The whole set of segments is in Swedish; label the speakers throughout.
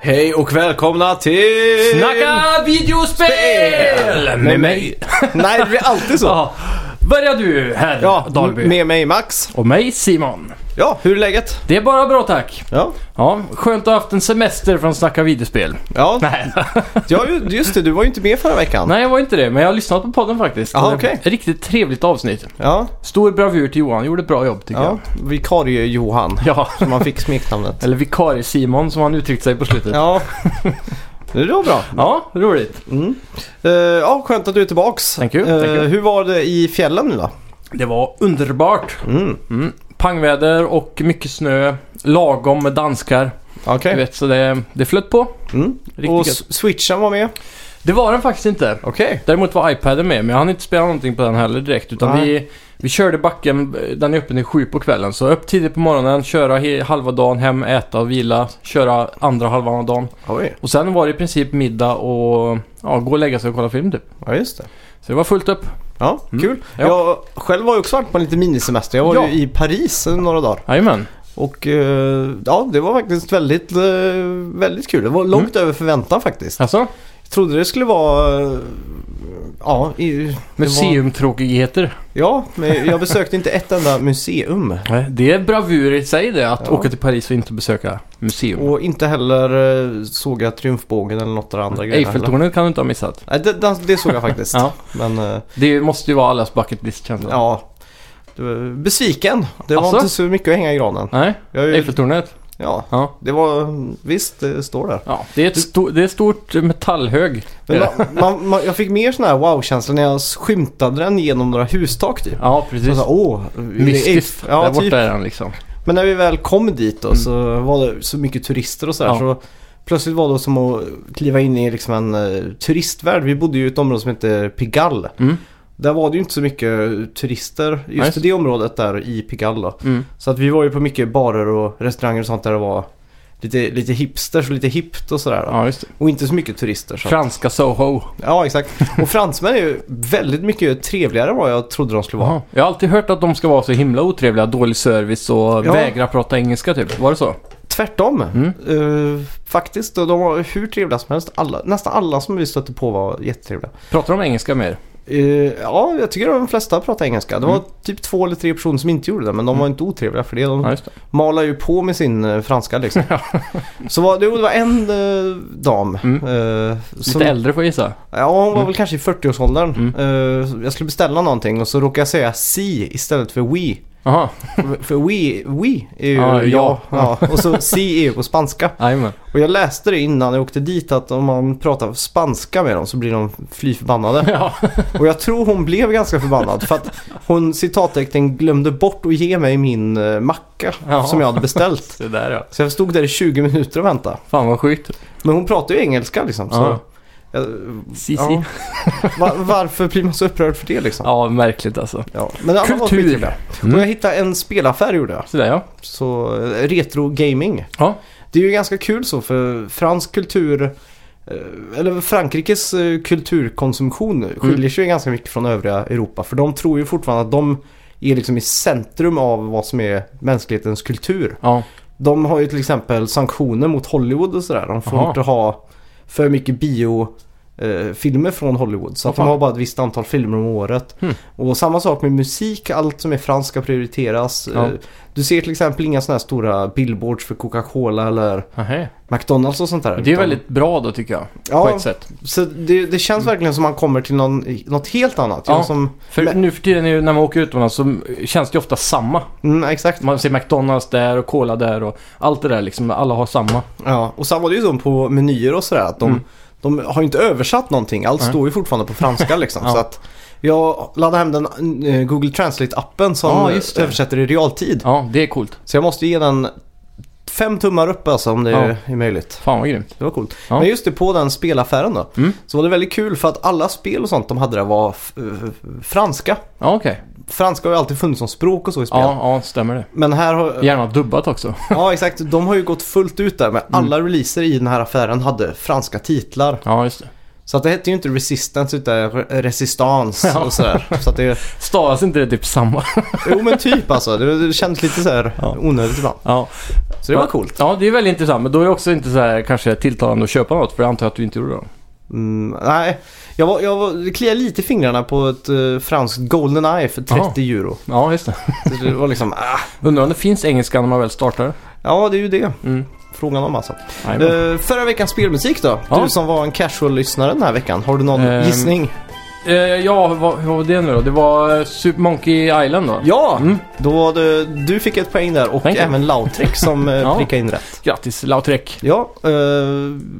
Speaker 1: Hej och välkomna till...
Speaker 2: Snacka videospel!
Speaker 1: Med mig. Nej, det blir alltid så.
Speaker 2: Ja. Börja du herr
Speaker 1: Ja,
Speaker 2: Dahlby.
Speaker 1: med mig Max.
Speaker 2: Och mig Simon.
Speaker 1: Ja, hur är läget?
Speaker 2: Det är bara bra tack.
Speaker 1: Ja,
Speaker 2: Ja, skönt att ha haft en semester från Snacka videospel.
Speaker 1: ja.
Speaker 2: Nej.
Speaker 1: ja ju- just det. Du var ju inte med förra veckan.
Speaker 2: Nej, jag var inte det. Men jag har lyssnat på podden faktiskt.
Speaker 1: Jaha,
Speaker 2: Det-
Speaker 1: okej.
Speaker 2: ett Riktigt trevligt avsnitt.
Speaker 1: Ja,
Speaker 2: Stor bravur till Johan. Gjorde ett bra jobb tycker
Speaker 1: ja. Vikarie-Johan.
Speaker 2: jag. Ja.
Speaker 1: Som han fick smeknamnet.
Speaker 2: Eller vikarie-Simon som han uttryckte sig på slutet.
Speaker 1: Ja. Det var bra.
Speaker 2: Ja, roligt.
Speaker 1: Eh, Ja, skönt att du är tillbaks.
Speaker 2: Thank you,
Speaker 1: Eh,
Speaker 2: thank you.
Speaker 1: Hur var det i fjällen nu då?
Speaker 2: Det var underbart.
Speaker 1: Mm.
Speaker 2: Mm. Pangväder och mycket snö. Lagom med danskar.
Speaker 1: Okej.
Speaker 2: Du vet, så det, det flöt på.
Speaker 1: Mm.
Speaker 2: Riktigt
Speaker 1: Och
Speaker 2: gött.
Speaker 1: s- switchen var med?
Speaker 2: Det var den faktiskt inte.
Speaker 1: Okej.
Speaker 2: Däremot var iPaden med, men jag hann inte spela någonting på den heller direkt. Utan
Speaker 1: Nej.
Speaker 2: vi, vi körde backen, den är öppen till sju på kvällen. Så upp tidigt på morgonen, köra he- halva dagen, hem, äta och vila. Köra andra halvan av dagen.
Speaker 1: Oj.
Speaker 2: Och sen var det i princip middag och ja, gå och lägga sig och kolla film typ.
Speaker 1: Ja, just det.
Speaker 2: Så det var fullt upp.
Speaker 1: Ja, kul.
Speaker 2: Mm. Ja.
Speaker 1: Jag själv har ju också varit på en liten minisemester. Jag var
Speaker 2: Ja.
Speaker 1: ju i Paris eh, några dagar.
Speaker 2: Jajamän.
Speaker 1: Och eh, ja, det var faktiskt väldigt, eh, väldigt kul. Det var långt
Speaker 2: Mm.
Speaker 1: över förväntan faktiskt.
Speaker 2: Alltså,
Speaker 1: Jag trodde det skulle vara... eh, Ja, i, det Var,
Speaker 2: museumtråkigheter.
Speaker 1: ja, men jag besökte inte ett enda museum.
Speaker 2: Nej, Det är bravur i sig det, att
Speaker 1: Ja.
Speaker 2: åka till Paris och inte besöka museum.
Speaker 1: Och inte heller eh, såg jag Triumfbågen eller något av de andra grejerna. heller.
Speaker 2: Eiffeltornet kan du inte ha missat.
Speaker 1: Nej, det, det, det såg jag faktiskt.
Speaker 2: Mm. Ja.
Speaker 1: Men eh,
Speaker 2: Det måste ju vara allas bucket list känns det som.
Speaker 1: ja, det var besviken. Det var
Speaker 2: Asså?
Speaker 1: inte så mycket att hänga i granen.
Speaker 2: Nej,
Speaker 1: Jag, är ju-
Speaker 2: Eiffeltornet.
Speaker 1: ja,
Speaker 2: Ja.
Speaker 1: det var... Visst, det står där.
Speaker 2: Ja, det är ett, sto- det är ett stort metallhög.
Speaker 1: Men man, man, man, jag fick mer sån här wow-känsla när jag skymtade den genom några hustak typ.
Speaker 2: Ja,
Speaker 1: Så
Speaker 2: precis.
Speaker 1: så, åh,
Speaker 2: Mystiskt.
Speaker 1: Ja,
Speaker 2: där borta
Speaker 1: typ.
Speaker 2: är den liksom.
Speaker 1: Men när vi väl kom dit då så var det så mycket turister och sådär.
Speaker 2: Ja.
Speaker 1: Så plötsligt var det som att kliva in i liksom en eh, turistvärld. Vi bodde ju i ett område som heter Pigalle.
Speaker 2: Mm.
Speaker 1: Där var det ju inte så mycket turister just
Speaker 2: just
Speaker 1: i det området där i Pigalle. då.
Speaker 2: Mm.
Speaker 1: Så att vi var ju på mycket barer och restauranger och sånt där det var lite, lite hipsters och lite hippt och sådär. då.
Speaker 2: Ja, just det.
Speaker 1: Och inte så mycket turister. Så.
Speaker 2: Franska Soho.
Speaker 1: Ja, exakt. Och fransmän är ju väldigt mycket trevligare än vad jag trodde de skulle vara.
Speaker 2: Jaha. Jag har alltid hört att de ska vara så himla otrevliga, dålig service och
Speaker 1: Ja.
Speaker 2: vägra prata engelska typ. Var det så?
Speaker 1: Tvärtom.
Speaker 2: Mm.
Speaker 1: Eh, faktiskt, och de var hur trevliga som helst. Alla, nästan alla som vi stötte på var jättetrevliga.
Speaker 2: Pratar de engelska mer?
Speaker 1: Eh, ja, jag tycker de flesta pratade engelska. Det var
Speaker 2: Mm.
Speaker 1: typ två eller tre personer som inte gjorde det, men de var inte otrevliga för det. De
Speaker 2: Ja, just det.
Speaker 1: malar ju på med sin eh, franska liksom. Så var, det var en eh, dam.
Speaker 2: Mm.
Speaker 1: eh,
Speaker 2: Lite äldre får jag gissa.
Speaker 1: Ja, hon var väl kanske i 40-årsåldern.
Speaker 2: Mm.
Speaker 1: Eh, jag skulle beställa någonting och så råkade jag säga si istället för we.
Speaker 2: Jaha,
Speaker 1: För we, we är ju
Speaker 2: Ja,
Speaker 1: ja,
Speaker 2: ja.
Speaker 1: ja. och så si är ju på spanska.
Speaker 2: jajamän.
Speaker 1: Och jag läste det innan jag åkte dit att om man pratar spanska med dem så blir de fly förbannade.
Speaker 2: Ja.
Speaker 1: Och jag tror hon blev ganska förbannad för att hon citattecken glömde bort att ge mig min eh, macka
Speaker 2: Jaha.
Speaker 1: som jag hade beställt.
Speaker 2: Det där ja.
Speaker 1: Så jag stod där i 20 minuter och väntade.
Speaker 2: Fan vad sjukt.
Speaker 1: Men hon pratar ju engelska liksom. Så
Speaker 2: Ja.
Speaker 1: jag,
Speaker 2: Sisi.
Speaker 1: ja.
Speaker 2: Ja.
Speaker 1: Va- varför blir man så upprörd för det liksom?
Speaker 2: märkligt alltså.
Speaker 1: Ja, men alla var
Speaker 2: Kultur.
Speaker 1: skittrevliga.
Speaker 2: Mm.
Speaker 1: Och jag hittade en spelaffär gjorde jag.
Speaker 2: Sådär ja.
Speaker 1: Så eh, retro gaming.
Speaker 2: Ja.
Speaker 1: Det är ju ganska kul så för fransk kultur eh, eller Frankrikes eh, kulturkonsumtion skiljer sig ju ganska mycket från övriga Europa. För de tror ju fortfarande att de är liksom i centrum av vad som är mänsklighetens kultur.
Speaker 2: Ja,
Speaker 1: De har ju till exempel sanktioner mot Hollywood och sådär. De får
Speaker 2: Jaha.
Speaker 1: inte ha för mycket bio eh, filmer från Hollywood. Så
Speaker 2: Vad
Speaker 1: att de
Speaker 2: fan.
Speaker 1: har bara ett visst antal filmer om året.
Speaker 2: Hmm.
Speaker 1: Och samma sak med musik. Allt som är franskt ska prioriteras.
Speaker 2: Ja.
Speaker 1: Eh, Du ser till exempel inga sådana här stora billboards för Coca-Cola eller
Speaker 2: Nähä.
Speaker 1: McDonalds och sånt där.
Speaker 2: Det är
Speaker 1: Utan-
Speaker 2: väldigt bra då tycker jag. På
Speaker 1: Ja,
Speaker 2: ett sätt. Mm.
Speaker 1: så det, det känns verkligen som man kommer till någon, något helt annat.
Speaker 2: Ja.
Speaker 1: Ja. Som,
Speaker 2: För
Speaker 1: Men-
Speaker 2: nu för tiden är ju- när man åker utomlands så känns det ju ofta samma.
Speaker 1: mm, exakt.
Speaker 2: Man ser McDonalds där och Cola där och allt det där liksom. Alla har samma.
Speaker 1: Ja, och samma det är ju så på menyer och sådär att de,
Speaker 2: Mm.
Speaker 1: de har ju inte översatt någonting. Allt
Speaker 2: Nej.
Speaker 1: står ju fortfarande på franska liksom.
Speaker 2: Ja.
Speaker 1: Så att jag laddade hem den eh, Google Translate-appen som
Speaker 2: Ja, just det.
Speaker 1: översätter i realtid.
Speaker 2: Ja, det är coolt.
Speaker 1: Så jag måste ge den fem tummar upp alltså om det
Speaker 2: Ja.
Speaker 1: är möjligt.
Speaker 2: Fan vad grymt.
Speaker 1: Det var coolt.
Speaker 2: Ja.
Speaker 1: Men just det, på den spelaffären då.
Speaker 2: Mm.
Speaker 1: Så var det väldigt kul för att alla spel och sånt de hade där var f- eh, franska.
Speaker 2: Ja, okej.
Speaker 1: Franska har ju alltid funnits som språk och så i spel.
Speaker 2: Ja, ja, stämmer det.
Speaker 1: Men här har,
Speaker 2: Gärna dubbat också.
Speaker 1: Ja, exakt. De har ju gått fullt ut där
Speaker 2: Mm.
Speaker 1: med alla releaser i den här affären hade franska titlar.
Speaker 2: Ja, just det.
Speaker 1: Så att det hette ju inte Resistance utan Re- Resistance
Speaker 2: Ja.
Speaker 1: och sådär. Så att det,
Speaker 2: Stavas inte det typ samma?
Speaker 1: jo men typ alltså. Det, det kändes lite så här
Speaker 2: Ja.
Speaker 1: onödigt ibland.
Speaker 2: Ja.
Speaker 1: Så det var coolt.
Speaker 2: Ja, det är väldigt intressant. Men då är det också inte så här kanske tilltalande att köpa något. För jag antar att du inte gjorde det.
Speaker 1: Mm, nej, jag, var, jag var, det kliade lite i fingrarna på ett eh, franskt Golden Eye för 30
Speaker 2: Jaha.
Speaker 1: euro.
Speaker 2: Ja, just det.
Speaker 1: Så det var liksom, ah,
Speaker 2: Undrar om det finns engelska när man väl startar.
Speaker 1: ja det är ju det.
Speaker 2: Mm.
Speaker 1: Frågan om alltså.
Speaker 2: Nej, men-
Speaker 1: Eh, förra veckans spelmusik då?
Speaker 2: Ja.
Speaker 1: Du som var en casual-lyssnare den här veckan. Har du någon
Speaker 2: Ehm,
Speaker 1: gissning?
Speaker 2: Eh, ja, vad, vad var det nu då? Det var eh, Super Monkey Island då?
Speaker 1: Ja!
Speaker 2: Mm.
Speaker 1: Då var det, du fick ett poäng där och
Speaker 2: Thank you.
Speaker 1: även Lautrec som eh,
Speaker 2: Ja.
Speaker 1: prickade in rätt.
Speaker 2: Grattis, Lautrec.
Speaker 1: Ja, eh,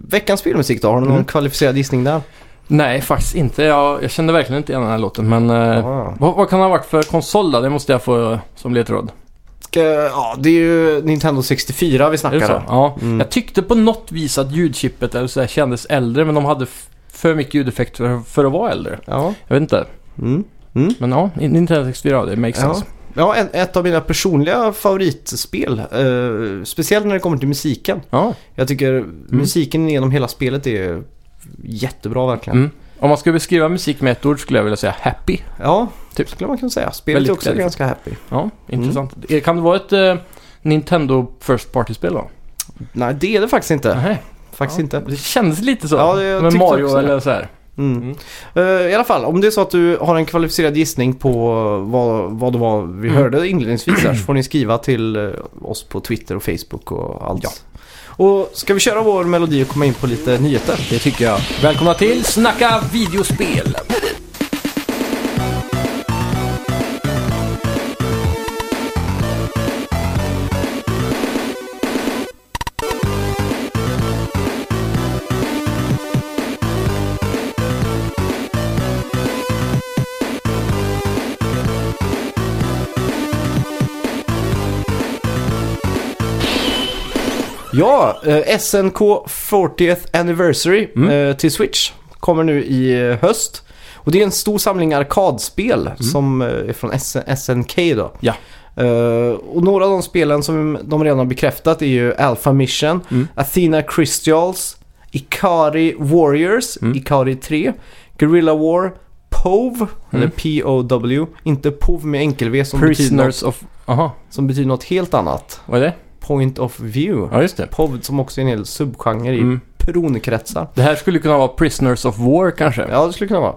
Speaker 1: veckans spelmusik då? Har du någon
Speaker 2: Mm.
Speaker 1: kvalificerad gissning där?
Speaker 2: Nej, faktiskt inte. Jag, jag kände verkligen inte igen den här låten. Men eh,
Speaker 1: Ah.
Speaker 2: vad, vad kan det ha varit för konsol då? Det måste jag få eh, som ledtråd.
Speaker 1: Eh, ja, det är ju Nintendo 64 vi
Speaker 2: Är
Speaker 1: snackar
Speaker 2: det så?
Speaker 1: om.
Speaker 2: Ja.
Speaker 1: Mm.
Speaker 2: Jag tyckte på något vis att ljudchippet eller så här kändes äldre. Men de hade f- för mycket ljudeffekt för, för att vara äldre.
Speaker 1: Ja.
Speaker 2: Jag vet inte.
Speaker 1: Mm. Mm.
Speaker 2: Men ja, Nintendo 64, det makes
Speaker 1: Ja.
Speaker 2: sense.
Speaker 1: Ja, en- ett av mina personliga favoritspel. Eh, speciellt när det kommer till musiken.
Speaker 2: Ja.
Speaker 1: Jag tycker
Speaker 2: Mm.
Speaker 1: musiken genom hela spelet är jättebra verkligen.
Speaker 2: Mm. Om man ska beskriva musik med ett ord skulle jag vilja säga happy.
Speaker 1: Ja,
Speaker 2: Typ.
Speaker 1: typ skulle man kunna säga. Spelet
Speaker 2: Väldigt
Speaker 1: är också
Speaker 2: klädigt.
Speaker 1: ganska happy.
Speaker 2: Ja, intressant.
Speaker 1: Mm.
Speaker 2: Eh, Kan det vara ett eh, Nintendo First Party-spel då?
Speaker 1: Nej, det är det faktiskt inte.
Speaker 2: Nej.
Speaker 1: Faktiskt
Speaker 2: Ja.
Speaker 1: inte.
Speaker 2: Det kändes lite så.
Speaker 1: Ja, det- jag
Speaker 2: med
Speaker 1: tyckte
Speaker 2: Mario
Speaker 1: också det.
Speaker 2: eller så här.
Speaker 1: Mm.
Speaker 2: Mm.
Speaker 1: Eh, I alla fall, om det är så att du har en kvalificerad gissning på vad, vad det var vi
Speaker 2: Mm.
Speaker 1: hörde inledningsvis här så får ni skriva till eh, oss på Twitter och Facebook och allt.
Speaker 2: Ja.
Speaker 1: Och ska vi köra vår melodi och komma in på lite nyheter?
Speaker 2: Det tycker jag. Välkomna till Snacka videospel!
Speaker 1: Ja, eh, SNK 40th Anniversary
Speaker 2: Mm.
Speaker 1: eh, till Switch kommer nu i eh, höst. Och det är en stor samling arkadspel som eh, är från S- SNK då.
Speaker 2: Mm. Ja.
Speaker 1: Eh, och några av de spelen som de redan har bekräftat är ju Alpha Mission,
Speaker 2: Mm.
Speaker 1: Athena Crystals, Ikari Warriors,
Speaker 2: Mm.
Speaker 1: Ikari 3, Guerrilla War, POW, eller
Speaker 2: Mm.
Speaker 1: POW, inte POW med enkel-V som, betyder något-
Speaker 2: Prisoners of... Aha,
Speaker 1: som betyder något helt annat.
Speaker 2: vad är det?
Speaker 1: Point of View.
Speaker 2: Ja, just det.
Speaker 1: POV som också är en hel subgenre i
Speaker 2: Mm.
Speaker 1: pronkretsar.
Speaker 2: Det här skulle kunna vara Prisoners of War kanske.
Speaker 1: Ja, det skulle kunna vara.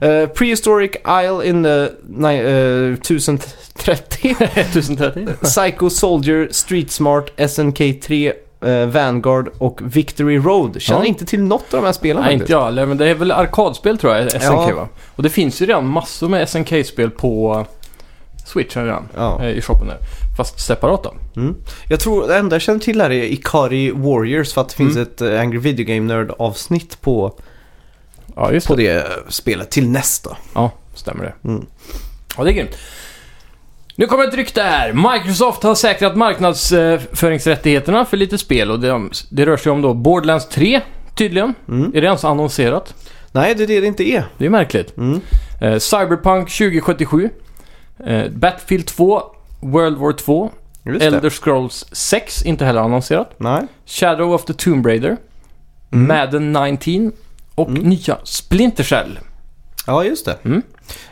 Speaker 1: Eh, prehistoric Isle in the nej, eh, 1030.
Speaker 2: 1030?
Speaker 1: Psycho Soldier, Street Smart, SNK 3, eh, Vanguard och Victory Road. Känner
Speaker 2: Ja.
Speaker 1: inte till något av de här spelen
Speaker 2: Nej, inte
Speaker 1: faktiskt.
Speaker 2: jag heller, men det är väl arkadspel tror jag, SNK
Speaker 1: Ja.
Speaker 2: va? Och det finns ju redan massor med SNK-spel på eh, Switch redan.
Speaker 1: Ja.
Speaker 2: eh, I shoppen där. Fast separat då.
Speaker 1: Mm. Jag tror det enda jag känner till här är Ikari Warriors för att det finns ett eh, Angry Video Game Nerd avsnitt på,
Speaker 2: Ja, just
Speaker 1: på det eh, spelet till nästa.
Speaker 2: Ja, stämmer det.
Speaker 1: Mm.
Speaker 2: Ja, det är grymt. Nu kommer ett rykte här. Microsoft har säkrat marknadsföringsrättigheterna för lite spel och det, det rör sig om då Borderlands 3 tydligen.
Speaker 1: Mm.
Speaker 2: Är det ens annonserat?
Speaker 1: Nej, det är det det inte är.
Speaker 2: Det är märkligt.
Speaker 1: Mm.
Speaker 2: Eh, Cyberpunk 2077. Eh, Battlefield 2. World War 2.
Speaker 1: Just det.
Speaker 2: Elder Scrolls 6. Inte heller annonserat.
Speaker 1: Nej.
Speaker 2: Shadow of the Tomb Raider.
Speaker 1: Mm.
Speaker 2: Madden 19. Och
Speaker 1: Mm.
Speaker 2: nya Splinter Cell.
Speaker 1: Ja, just det.
Speaker 2: Mm.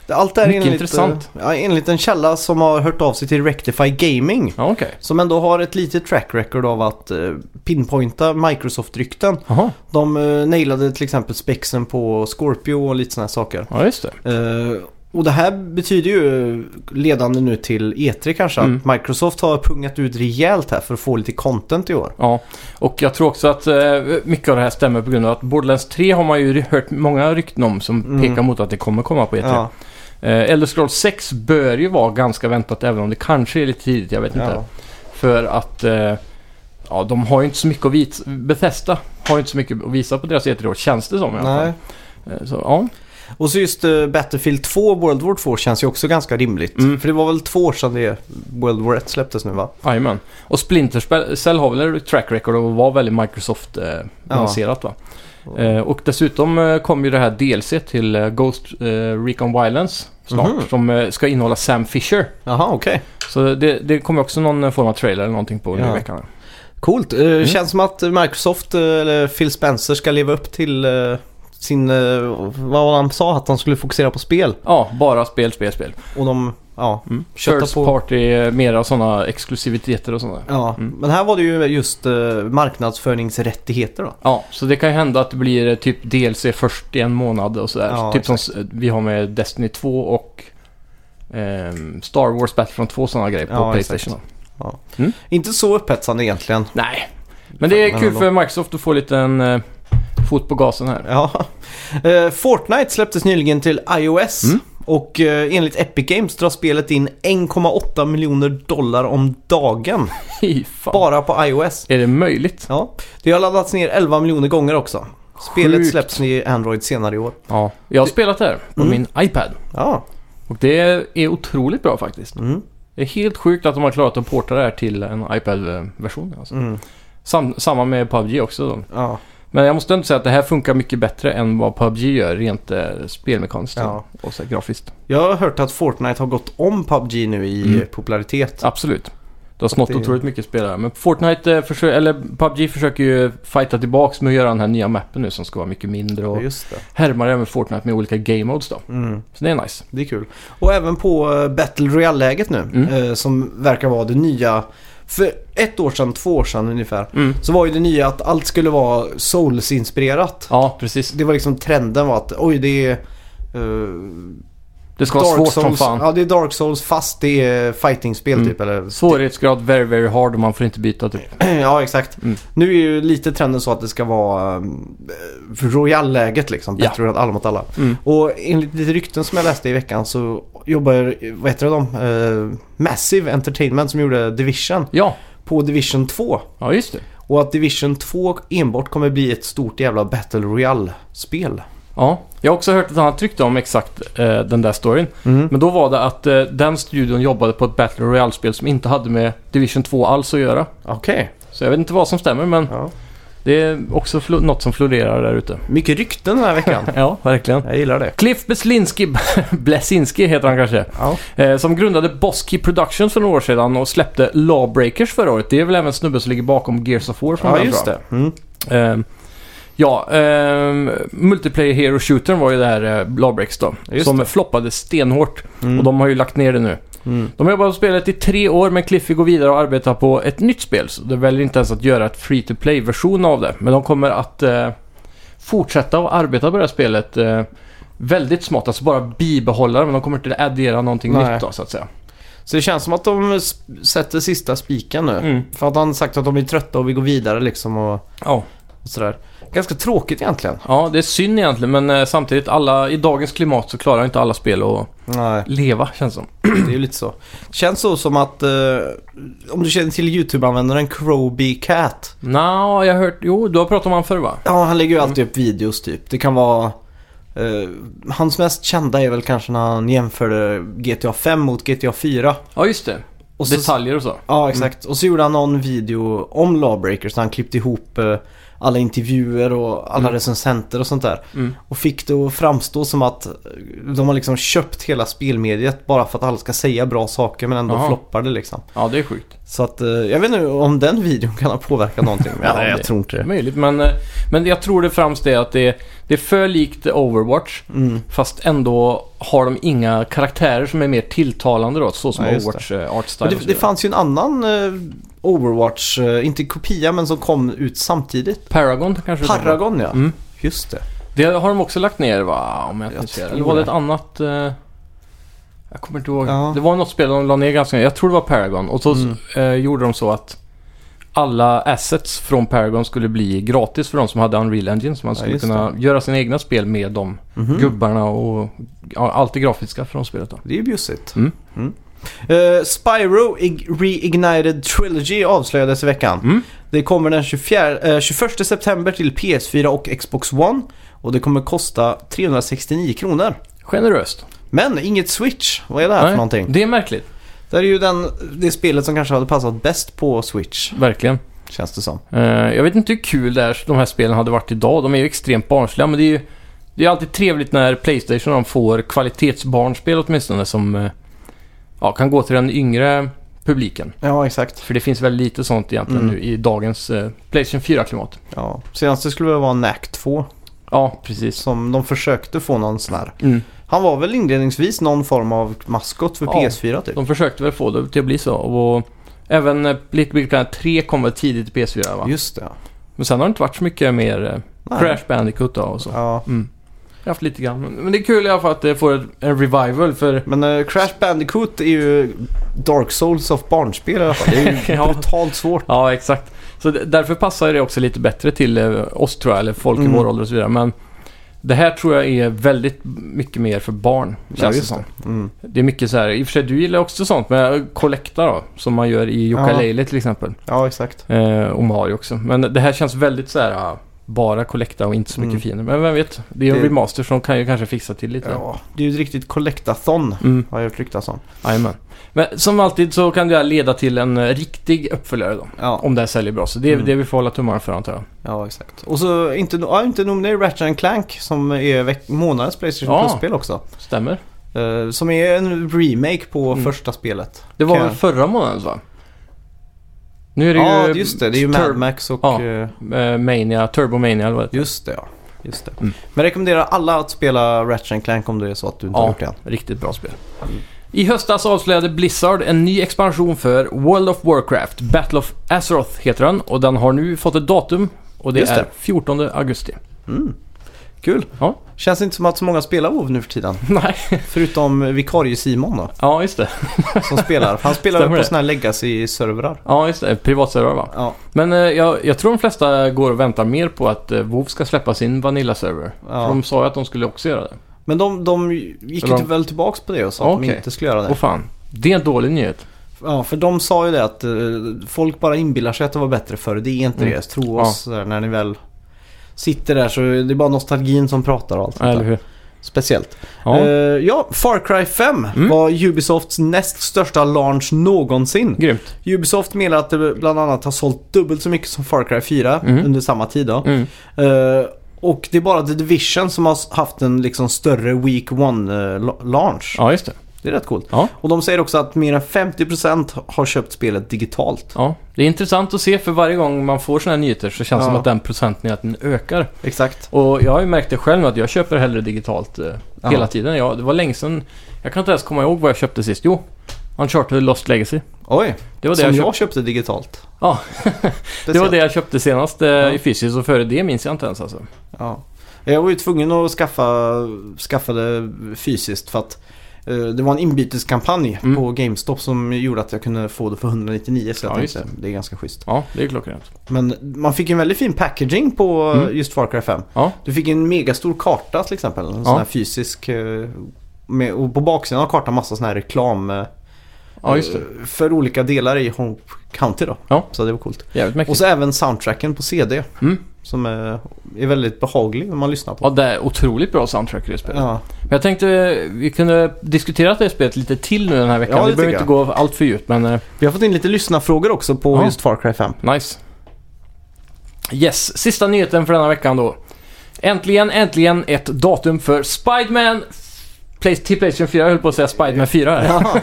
Speaker 1: Allt det här är
Speaker 2: Mycket
Speaker 1: enligt,
Speaker 2: intressant.
Speaker 1: eh, Ja, enligt en källa som har hört av sig till Rectify Gaming.
Speaker 2: Ja, okej.
Speaker 1: Som ändå har ett litet track record av att eh, pinpointa Microsoft-rykten.
Speaker 2: Jaha,
Speaker 1: De eh, nailade till exempel spexen på Scorpio och lite sådana här saker.
Speaker 2: ja just det.
Speaker 1: Eh, och det här betyder ju eh, ledande nu till E3 kanske.
Speaker 2: Mm.
Speaker 1: Att Microsoft har pungat ut rejält här för att få lite content i år.
Speaker 2: Ja, och jag tror också att eh, mycket av det här stämmer på grund av att Borderlands 3 har man ju hört många rykten om som
Speaker 1: Mm.
Speaker 2: pekar mot att det kommer komma på E3.
Speaker 1: Ja,
Speaker 2: Eh, Elder Scrolls 6 bör ju vara ganska väntat även om det kanske är lite tidigt, jag vet inte.
Speaker 1: ja.
Speaker 2: För att eh, ja, de har ju inte så mycket att visa. Bethesda har ju inte så mycket att visa på deras E3 år, känns det som i alla fall.
Speaker 1: Nej.
Speaker 2: Eh, Så, ja.
Speaker 1: Och så just eh, Battlefield 2 World War 2 känns ju också ganska rimligt.
Speaker 2: Mm.
Speaker 1: För det var väl två år sedan det World War 1 släpptes nu va?
Speaker 2: Jajamän. Och Splinter Spe- Cell har väl ett track record av att vara väldigt Microsoft-baserat va? Eh, och dessutom eh, kommer ju det här DLC till eh, Ghost eh, Recon Wildlands snart.
Speaker 1: Mhm.
Speaker 2: Som eh, ska innehålla Sam Fisher.
Speaker 1: Jaha, okej.
Speaker 2: Så det, det kommer också någon eh, form av trailer eller någonting på nu i
Speaker 1: Ja.
Speaker 2: veckan.
Speaker 1: Coolt. Eh, Känns som att Microsoft, eh, eller Phil Spencer, ska leva upp till eh, sin, eh, vad han sa, att han skulle fokusera på spel.
Speaker 2: Ja, bara spel, spel, spel.
Speaker 1: Och de ja.
Speaker 2: Mm.
Speaker 1: Kötta
Speaker 2: First
Speaker 1: på-
Speaker 2: party, eh, mera sådana exklusiviteter och sådana.
Speaker 1: Ja,
Speaker 2: Mm.
Speaker 1: men här var det ju just eh, marknadsföringsrättigheter då.
Speaker 2: Ja, så det kan ju hända att det blir eh, typ DLC först i en månad och sådär.
Speaker 1: Ja,
Speaker 2: typ som s- vi har med Destiny 2 och ehm, Star Wars Battlefront 2 sådana grejer på
Speaker 1: Ja,
Speaker 2: Playstation.
Speaker 1: exakt. Inte så upphetsande egentligen.
Speaker 2: Nej, men det är
Speaker 1: Men
Speaker 2: kul
Speaker 1: ändå.
Speaker 2: för Microsoft att få lite en eh, fot på gasen här.
Speaker 1: Ja. Eh, Fortnite släpptes nyligen till iOS.
Speaker 2: Mm.
Speaker 1: Och eh, enligt Epic Games drar spelet in 1,8 miljoner dollar om dagen.
Speaker 2: Fy fan.
Speaker 1: Bara på iOS.
Speaker 2: Är det möjligt?
Speaker 1: Ja. Det har laddats ner 11 miljoner gånger också. Spelet
Speaker 2: Sjukt.
Speaker 1: släpps i Android senare i år.
Speaker 2: Ja, jag har spelat det här på
Speaker 1: Mm.
Speaker 2: min iPad.
Speaker 1: Ja.
Speaker 2: Och det är otroligt bra faktiskt.
Speaker 1: Mm.
Speaker 2: Det är helt sjukt att de har klarat att porta det här till en iPad-version. Alltså.
Speaker 1: Mm.
Speaker 2: Sam- samma med PubG också då.
Speaker 1: Ja.
Speaker 2: Men jag måste ändå säga att det här funkar mycket bättre än vad PubG gör rent eh, spelmekaniskt
Speaker 1: Ja.
Speaker 2: och så här, grafiskt.
Speaker 1: Jag har hört att Fortnite har gått om PubG nu i
Speaker 2: Mm.
Speaker 1: eh, popularitet.
Speaker 2: Absolut. Det har snott
Speaker 1: det-
Speaker 2: otroligt mycket spelare. Men Fortnite, eh, försö- eller PubG försöker ju fighta tillbaks med att göra den här nya mappen nu som ska vara mycket mindre
Speaker 1: Ja,
Speaker 2: och
Speaker 1: just det.
Speaker 2: härmar även Fortnite med olika game modes då.
Speaker 1: Mm.
Speaker 2: Så det är nice.
Speaker 1: Det är kul. Och även på eh, Battle Royale-läget nu,
Speaker 2: Mm.
Speaker 1: eh, som verkar vara det nya. För ett år sedan, två år sedan ungefär,
Speaker 2: Mm.
Speaker 1: så var ju det nya att allt skulle vara Souls-inspirerat.
Speaker 2: Ja, precis.
Speaker 1: Det var liksom trenden var att oj det är... eh,
Speaker 2: Det ska vara svårt som
Speaker 1: Souls.
Speaker 2: fan.
Speaker 1: Ja, det är Dark Souls fast det är fighting-spel
Speaker 2: Mm.
Speaker 1: typ. Eller...
Speaker 2: Svårighetsgrad very, very hard och man får inte byta typ.
Speaker 1: ja, exakt.
Speaker 2: Mm.
Speaker 1: Nu är ju lite trenden så att det ska vara eh, Royale-läget liksom.
Speaker 2: Ja.
Speaker 1: Battle Royale, alla mot alla.
Speaker 2: Mm.
Speaker 1: Och enligt lite rykten som jag läste i veckan så jobbar, vad heter de, eh, Massive Entertainment som gjorde Division
Speaker 2: Ja,
Speaker 1: på Division 2.
Speaker 2: ja just det.
Speaker 1: Och att Division 2 enbart kommer bli ett stort jävla Battle Royale-spel.
Speaker 2: Ja, jag har också hört ett annat rykte om exakt eh, den där storyn.
Speaker 1: Mm.
Speaker 2: Men då var det att eh, den studion jobbade på ett Battle Royale-spel som inte hade med Division 2 alls att göra.
Speaker 1: Okej.
Speaker 2: Så jag vet inte vad som stämmer men
Speaker 1: Ja.
Speaker 2: det är också fl- något som florerar där ute.
Speaker 1: Mycket rykten den här veckan.
Speaker 2: Ja, verkligen.
Speaker 1: jag gillar det.
Speaker 2: Cliff Beslinski, Blesinski heter han kanske,
Speaker 1: Ja.
Speaker 2: eh, som grundade Bosky Productions för några år sedan och släppte Lawbreakers förra året. Det är väl även snubben som ligger bakom Gears of War från
Speaker 1: Ja,
Speaker 2: den
Speaker 1: just
Speaker 2: bra.
Speaker 1: det. Mm.
Speaker 2: Ehm, ja, ehm, Multiplayer Hero Shootern var ju det här eh, Lawbreakers då.
Speaker 1: Just
Speaker 2: som floppade stenhårt
Speaker 1: Mm.
Speaker 2: och de har ju lagt ner det nu.
Speaker 1: Mm.
Speaker 2: De har jobbat på spelet i tre år men Cliffy går vidare och arbetar på ett nytt spel. Så de väljer inte ens att göra ett free to play-version av det. Men de kommer att eh, fortsätta att arbeta på det här spelet eh, väldigt smått. Alltså bara bibehålla det men de kommer inte addera någonting
Speaker 1: Nej.
Speaker 2: nytt då så att säga.
Speaker 1: Så det känns som att de s- sätter sista spiken nu.
Speaker 2: Mm.
Speaker 1: För att han sagt att de är trötta och vill gå vidare liksom och,
Speaker 2: Ja.
Speaker 1: och sådär. Ganska tråkigt egentligen.
Speaker 2: ja, det är synd egentligen men eh, samtidigt alla, i dagens klimat så klarar inte alla spel att
Speaker 1: Nej.
Speaker 2: leva känns som.
Speaker 1: Det är ju lite så. Känns så som att eh, om du känner till YouTube-användaren Crowby Cat.
Speaker 2: Nå, jag har hört... Jo, du har pratat om han förr va?
Speaker 1: Ja, han lägger ju alltid upp videos typ. Det kan vara... eh, hans mest kända är väl kanske när han jämförde GTA 5 mot GTA 4.
Speaker 2: Ja, just det.
Speaker 1: Och så,
Speaker 2: Detaljer och så.
Speaker 1: Ja, exakt. Och så gjorde han någon video om Lawbreakers när han klippte ihop eh, alla intervjuer och alla
Speaker 2: Mm.
Speaker 1: recensenter och sånt där.
Speaker 2: Mm.
Speaker 1: Och fick det att framstå som att eh, de har liksom köpt hela spelmediet bara för att alla ska säga bra saker men ändå
Speaker 2: Jaha.
Speaker 1: floppar det liksom.
Speaker 2: Ja, det är sjukt.
Speaker 1: Så att eh, jag vet inte om den videon kan ha påverkat någonting. Men
Speaker 2: Ja,
Speaker 1: jag, jag
Speaker 2: det-
Speaker 1: tror inte det.
Speaker 2: Möjligt, men, eh, men jag tror det främst är att det är, det är för likt Overwatch.
Speaker 1: Mm.
Speaker 2: Fast ändå har de inga karaktärer som är mer tilltalande då, så som
Speaker 1: Ja, just det.
Speaker 2: Overwatch eh, art style
Speaker 1: Men det,
Speaker 2: och så
Speaker 1: det
Speaker 2: vidare.
Speaker 1: fanns ju en annan eh, Overwatch, eh, inte kopia men som kom ut samtidigt.
Speaker 2: Paragon kanske?
Speaker 1: Paragon ja.
Speaker 2: Mm.
Speaker 1: Just det.
Speaker 2: Det har de också lagt ner va? Om jag inte
Speaker 1: Jag
Speaker 2: minns fel.
Speaker 1: tror
Speaker 2: Eller var det
Speaker 1: det.
Speaker 2: ett annat... eh, Jag kommer inte ihåg.
Speaker 1: Ja.
Speaker 2: Det var något spel de la ner ganska Jag tror det var Paragon. Och så
Speaker 1: Mm.
Speaker 2: eh, gjorde de så att alla assets från Paragon skulle bli gratis för de som hade Unreal Engine. Så man
Speaker 1: Ja,
Speaker 2: skulle
Speaker 1: just
Speaker 2: kunna göra sina egna spel med de
Speaker 1: Mhm.
Speaker 2: gubbarna och ja, allt det grafiska från spelet då.
Speaker 1: Det är ju bjussigt.
Speaker 2: Mm.
Speaker 1: Mm. Eh, Spyro Ig- Reignited Trilogy avslöjades i veckan.
Speaker 2: Mm.
Speaker 1: Det kommer den 24, eh, 21 september till PS4 och Xbox One. Och det kommer kosta 369 kronor.
Speaker 2: Generöst.
Speaker 1: Men inget Switch. Vad är det här
Speaker 2: Nej,
Speaker 1: för någonting?
Speaker 2: Det är märkligt.
Speaker 1: Det är ju den, det spelet som kanske hade passat bäst på Switch.
Speaker 2: Verkligen.
Speaker 1: Känns det som.
Speaker 2: Eh, jag vet inte hur kul det är, de här spelen hade varit idag. De är ju extremt barnsliga, men det är ju det är alltid trevligt när Playstation de får kvalitetsbarnspel åtminstone som eh, ja, kan gå till den yngre publiken.
Speaker 1: Ja, exakt.
Speaker 2: För det finns väl lite sånt egentligen
Speaker 1: Mm.
Speaker 2: nu i dagens eh, Playstation 4-klimat.
Speaker 1: Ja. Senast det skulle väl vara NAC 2.
Speaker 2: Ja, precis.
Speaker 1: Som de försökte få någon sån här.
Speaker 2: Mm.
Speaker 1: Han var väl inledningsvis någon form av maskot för
Speaker 2: Ja.
Speaker 1: PS4 typ.
Speaker 2: De försökte väl få det till att bli så. Och även eh, Little Big Planet 3 kom väl tidigt till PS4 va?
Speaker 1: Just det ja.
Speaker 2: Men sen har det inte varit så mycket mer eh,
Speaker 1: Nej.
Speaker 2: Crash Bandicoot då och så.
Speaker 1: ja.
Speaker 2: Mm. Jag har haft lite grann. Men- Men det är kul i alla fall att det får ett- en revival för...
Speaker 1: Men eh, Crash Bandicoot är ju Dark Souls of barnspel i alla fall. Det är ju
Speaker 2: Ja.
Speaker 1: brutalt svårt.
Speaker 2: Ja, exakt. Så d- därför passar det också lite bättre till eh, oss tror jag, eller folk i
Speaker 1: Mm.
Speaker 2: vår ålder och så vidare. Men det här tror jag är väldigt mycket mer för barn, känns det
Speaker 1: just
Speaker 2: som.
Speaker 1: det. Mm.
Speaker 2: Det är mycket så här, i och för sig du gillar också sånt, men kollekta då. Som man gör i Yooka-Laylee till exempel.
Speaker 1: Ja, exakt.
Speaker 2: Eh, och Mario också. Men det här känns väldigt så här, ah, bara kollekta och inte så mycket
Speaker 1: Mm.
Speaker 2: fiender. Men vem vet, det är en
Speaker 1: Det-
Speaker 2: remaster som kan ju kanske fixa till lite.
Speaker 1: Ja, det är ju ett riktigt collectathon
Speaker 2: Mm,
Speaker 1: har jag hört ryktas om.
Speaker 2: jajamän. Men som alltid så kan det här leda till en eh, riktig uppföljare då.
Speaker 1: Ja,
Speaker 2: Om det här säljer bra. Så det är
Speaker 1: Mm.
Speaker 2: det vi får hålla tummarna för antar jag.
Speaker 1: ja exakt. Och så inte, ja, inte nog med det, Ratchet and Clank som är veck- månadens Playstation
Speaker 2: Ja.
Speaker 1: Plus-spel också.
Speaker 2: Stämmer.
Speaker 1: Eh, som är en remake på
Speaker 2: Mm.
Speaker 1: första spelet.
Speaker 2: Det var
Speaker 1: Kan
Speaker 2: väl
Speaker 1: jag-
Speaker 2: förra månaden va? Nu är det
Speaker 1: Ja,
Speaker 2: ju...
Speaker 1: just det. Det är ju Mad
Speaker 2: Tur-
Speaker 1: Max och...
Speaker 2: Ja.
Speaker 1: eh,
Speaker 2: eh, Mania, Turbo Mania eller vad det
Speaker 1: Just det, ja. Just det.
Speaker 2: Mm.
Speaker 1: Men jag rekommenderar alla att spela Ratchet and Clank om det är så att du inte
Speaker 2: Ja.
Speaker 1: har gjort det än.
Speaker 2: Riktigt bra spel. I höstas avslöjade Blizzard en ny expansion för World of Warcraft. Battle of Azeroth heter den och den har nu fått ett datum och det
Speaker 1: Just
Speaker 2: är
Speaker 1: det.
Speaker 2: 14 augusti.
Speaker 1: Mm. Kul.
Speaker 2: Ja.
Speaker 1: Känns inte som att så många spelar WoW nu för tiden.
Speaker 2: Nej,
Speaker 1: Förutom vikarie-Simon då,
Speaker 2: ja just det.
Speaker 1: som spelar. För Han spelar
Speaker 2: Stämmer
Speaker 1: på
Speaker 2: det?
Speaker 1: sådana här legacy-servrar.
Speaker 2: Ja, just det. Privatserver va?
Speaker 1: Ja,
Speaker 2: Men eh, jag, jag tror de flesta går och väntar mer på att eh, WoW ska släppa sin Vanilla-server. För
Speaker 1: ja.
Speaker 2: de sa ju att de skulle också göra det.
Speaker 1: Men de, de gick
Speaker 2: Eller
Speaker 1: ju
Speaker 2: de-
Speaker 1: väl tillbaks på det och sa att de
Speaker 2: Okej.
Speaker 1: inte skulle göra
Speaker 2: Åh
Speaker 1: det.
Speaker 2: fan, det är en dålig nyhet.
Speaker 1: Ja, för de sa ju det att eh, folk bara inbillar sig att det var bättre förr. Det är inte
Speaker 2: Mm.
Speaker 1: det. Tro oss där, när ni väl sitter där så är det bara nostalgin som pratar och allt sånt
Speaker 2: Eller
Speaker 1: där.
Speaker 2: hur?
Speaker 1: Speciellt.
Speaker 2: Ja.
Speaker 1: Eh, ja, Far Cry 5
Speaker 2: Mm.
Speaker 1: var Ubisofts näst största launch någonsin.
Speaker 2: Grymt.
Speaker 1: Ubisoft menar att det bland annat har sålt dubbelt så mycket som Far Cry 4
Speaker 2: Mm.
Speaker 1: under samma tid. Då.
Speaker 2: Mm.
Speaker 1: Eh, och det är bara The Division som har haft en liksom större Week 1-launch.
Speaker 2: Ja, just det.
Speaker 1: Det är rätt coolt.
Speaker 2: Ja.
Speaker 1: Och de säger också att mer än 50% har köpt spelet digitalt.
Speaker 2: Ja, det är intressant att se för varje gång man får sådana här nyheter så känns det
Speaker 1: Ja.
Speaker 2: som att den procenten att den ökar.
Speaker 1: Exakt.
Speaker 2: Och jag har ju märkt det själv nu att jag köper hellre digitalt eh,
Speaker 1: Ja.
Speaker 2: hela tiden. Jag, det var länge sedan. Jag kan inte ens komma ihåg vad jag köpte sist. Jo, Uncharted Lost Legacy.
Speaker 1: Oj,
Speaker 2: Det var det,
Speaker 1: som
Speaker 2: jag,
Speaker 1: jag,
Speaker 2: köpte.
Speaker 1: köpte digitalt.
Speaker 2: Ja. det, var
Speaker 1: Speciellt.
Speaker 2: det jag köpte senast eh,
Speaker 1: Ja.
Speaker 2: i fysiskt och före det minns jag inte ens alltså.
Speaker 1: Ja. Jag var ju tvungen att skaffa, skaffa det fysiskt för att eh, det var en inbyteskampanj
Speaker 2: Mm.
Speaker 1: på GameStop som gjorde att jag kunde få det för 199 så jag
Speaker 2: Ja, just
Speaker 1: tänkte det är ganska schysst.
Speaker 2: Ja, det är klockrent.
Speaker 1: Men man fick en väldigt fin packaging på eh,
Speaker 2: Mm.
Speaker 1: just Far Cry 5.
Speaker 2: Ja.
Speaker 1: Du fick en megastor karta till exempel. En sån
Speaker 2: Ja.
Speaker 1: här fysisk. eh, Med, och på baksidan av kartan massa sån här reklam eh,
Speaker 2: Ja, just det.
Speaker 1: eh, för olika delar i Home County då.
Speaker 2: Ja.
Speaker 1: Så det var coolt.
Speaker 2: Jävligt mäktigt.
Speaker 1: Och så även soundtracken på CD
Speaker 2: Mm.
Speaker 1: som är, är väldigt behaglig när man lyssnar på.
Speaker 2: Ja, det är otroligt bra soundtrack i det spelet.
Speaker 1: Ja.
Speaker 2: Men jag tänkte eh, vi kunde diskutera det här spelet lite till nu den här veckan.
Speaker 1: Ja, det
Speaker 2: vi behöver
Speaker 1: tycker
Speaker 2: inte gå allt för djupt men eh,
Speaker 1: Vi har fått in lite lyssnarfrågor också på
Speaker 2: Ja.
Speaker 1: just Far Cry 5.
Speaker 2: Nice. Yes, sista nyheten för denna veckan då. Äntligen, äntligen ett datum för Spiderman Play- till Playstation 4, jag höll på att säga Spiderman 4 här.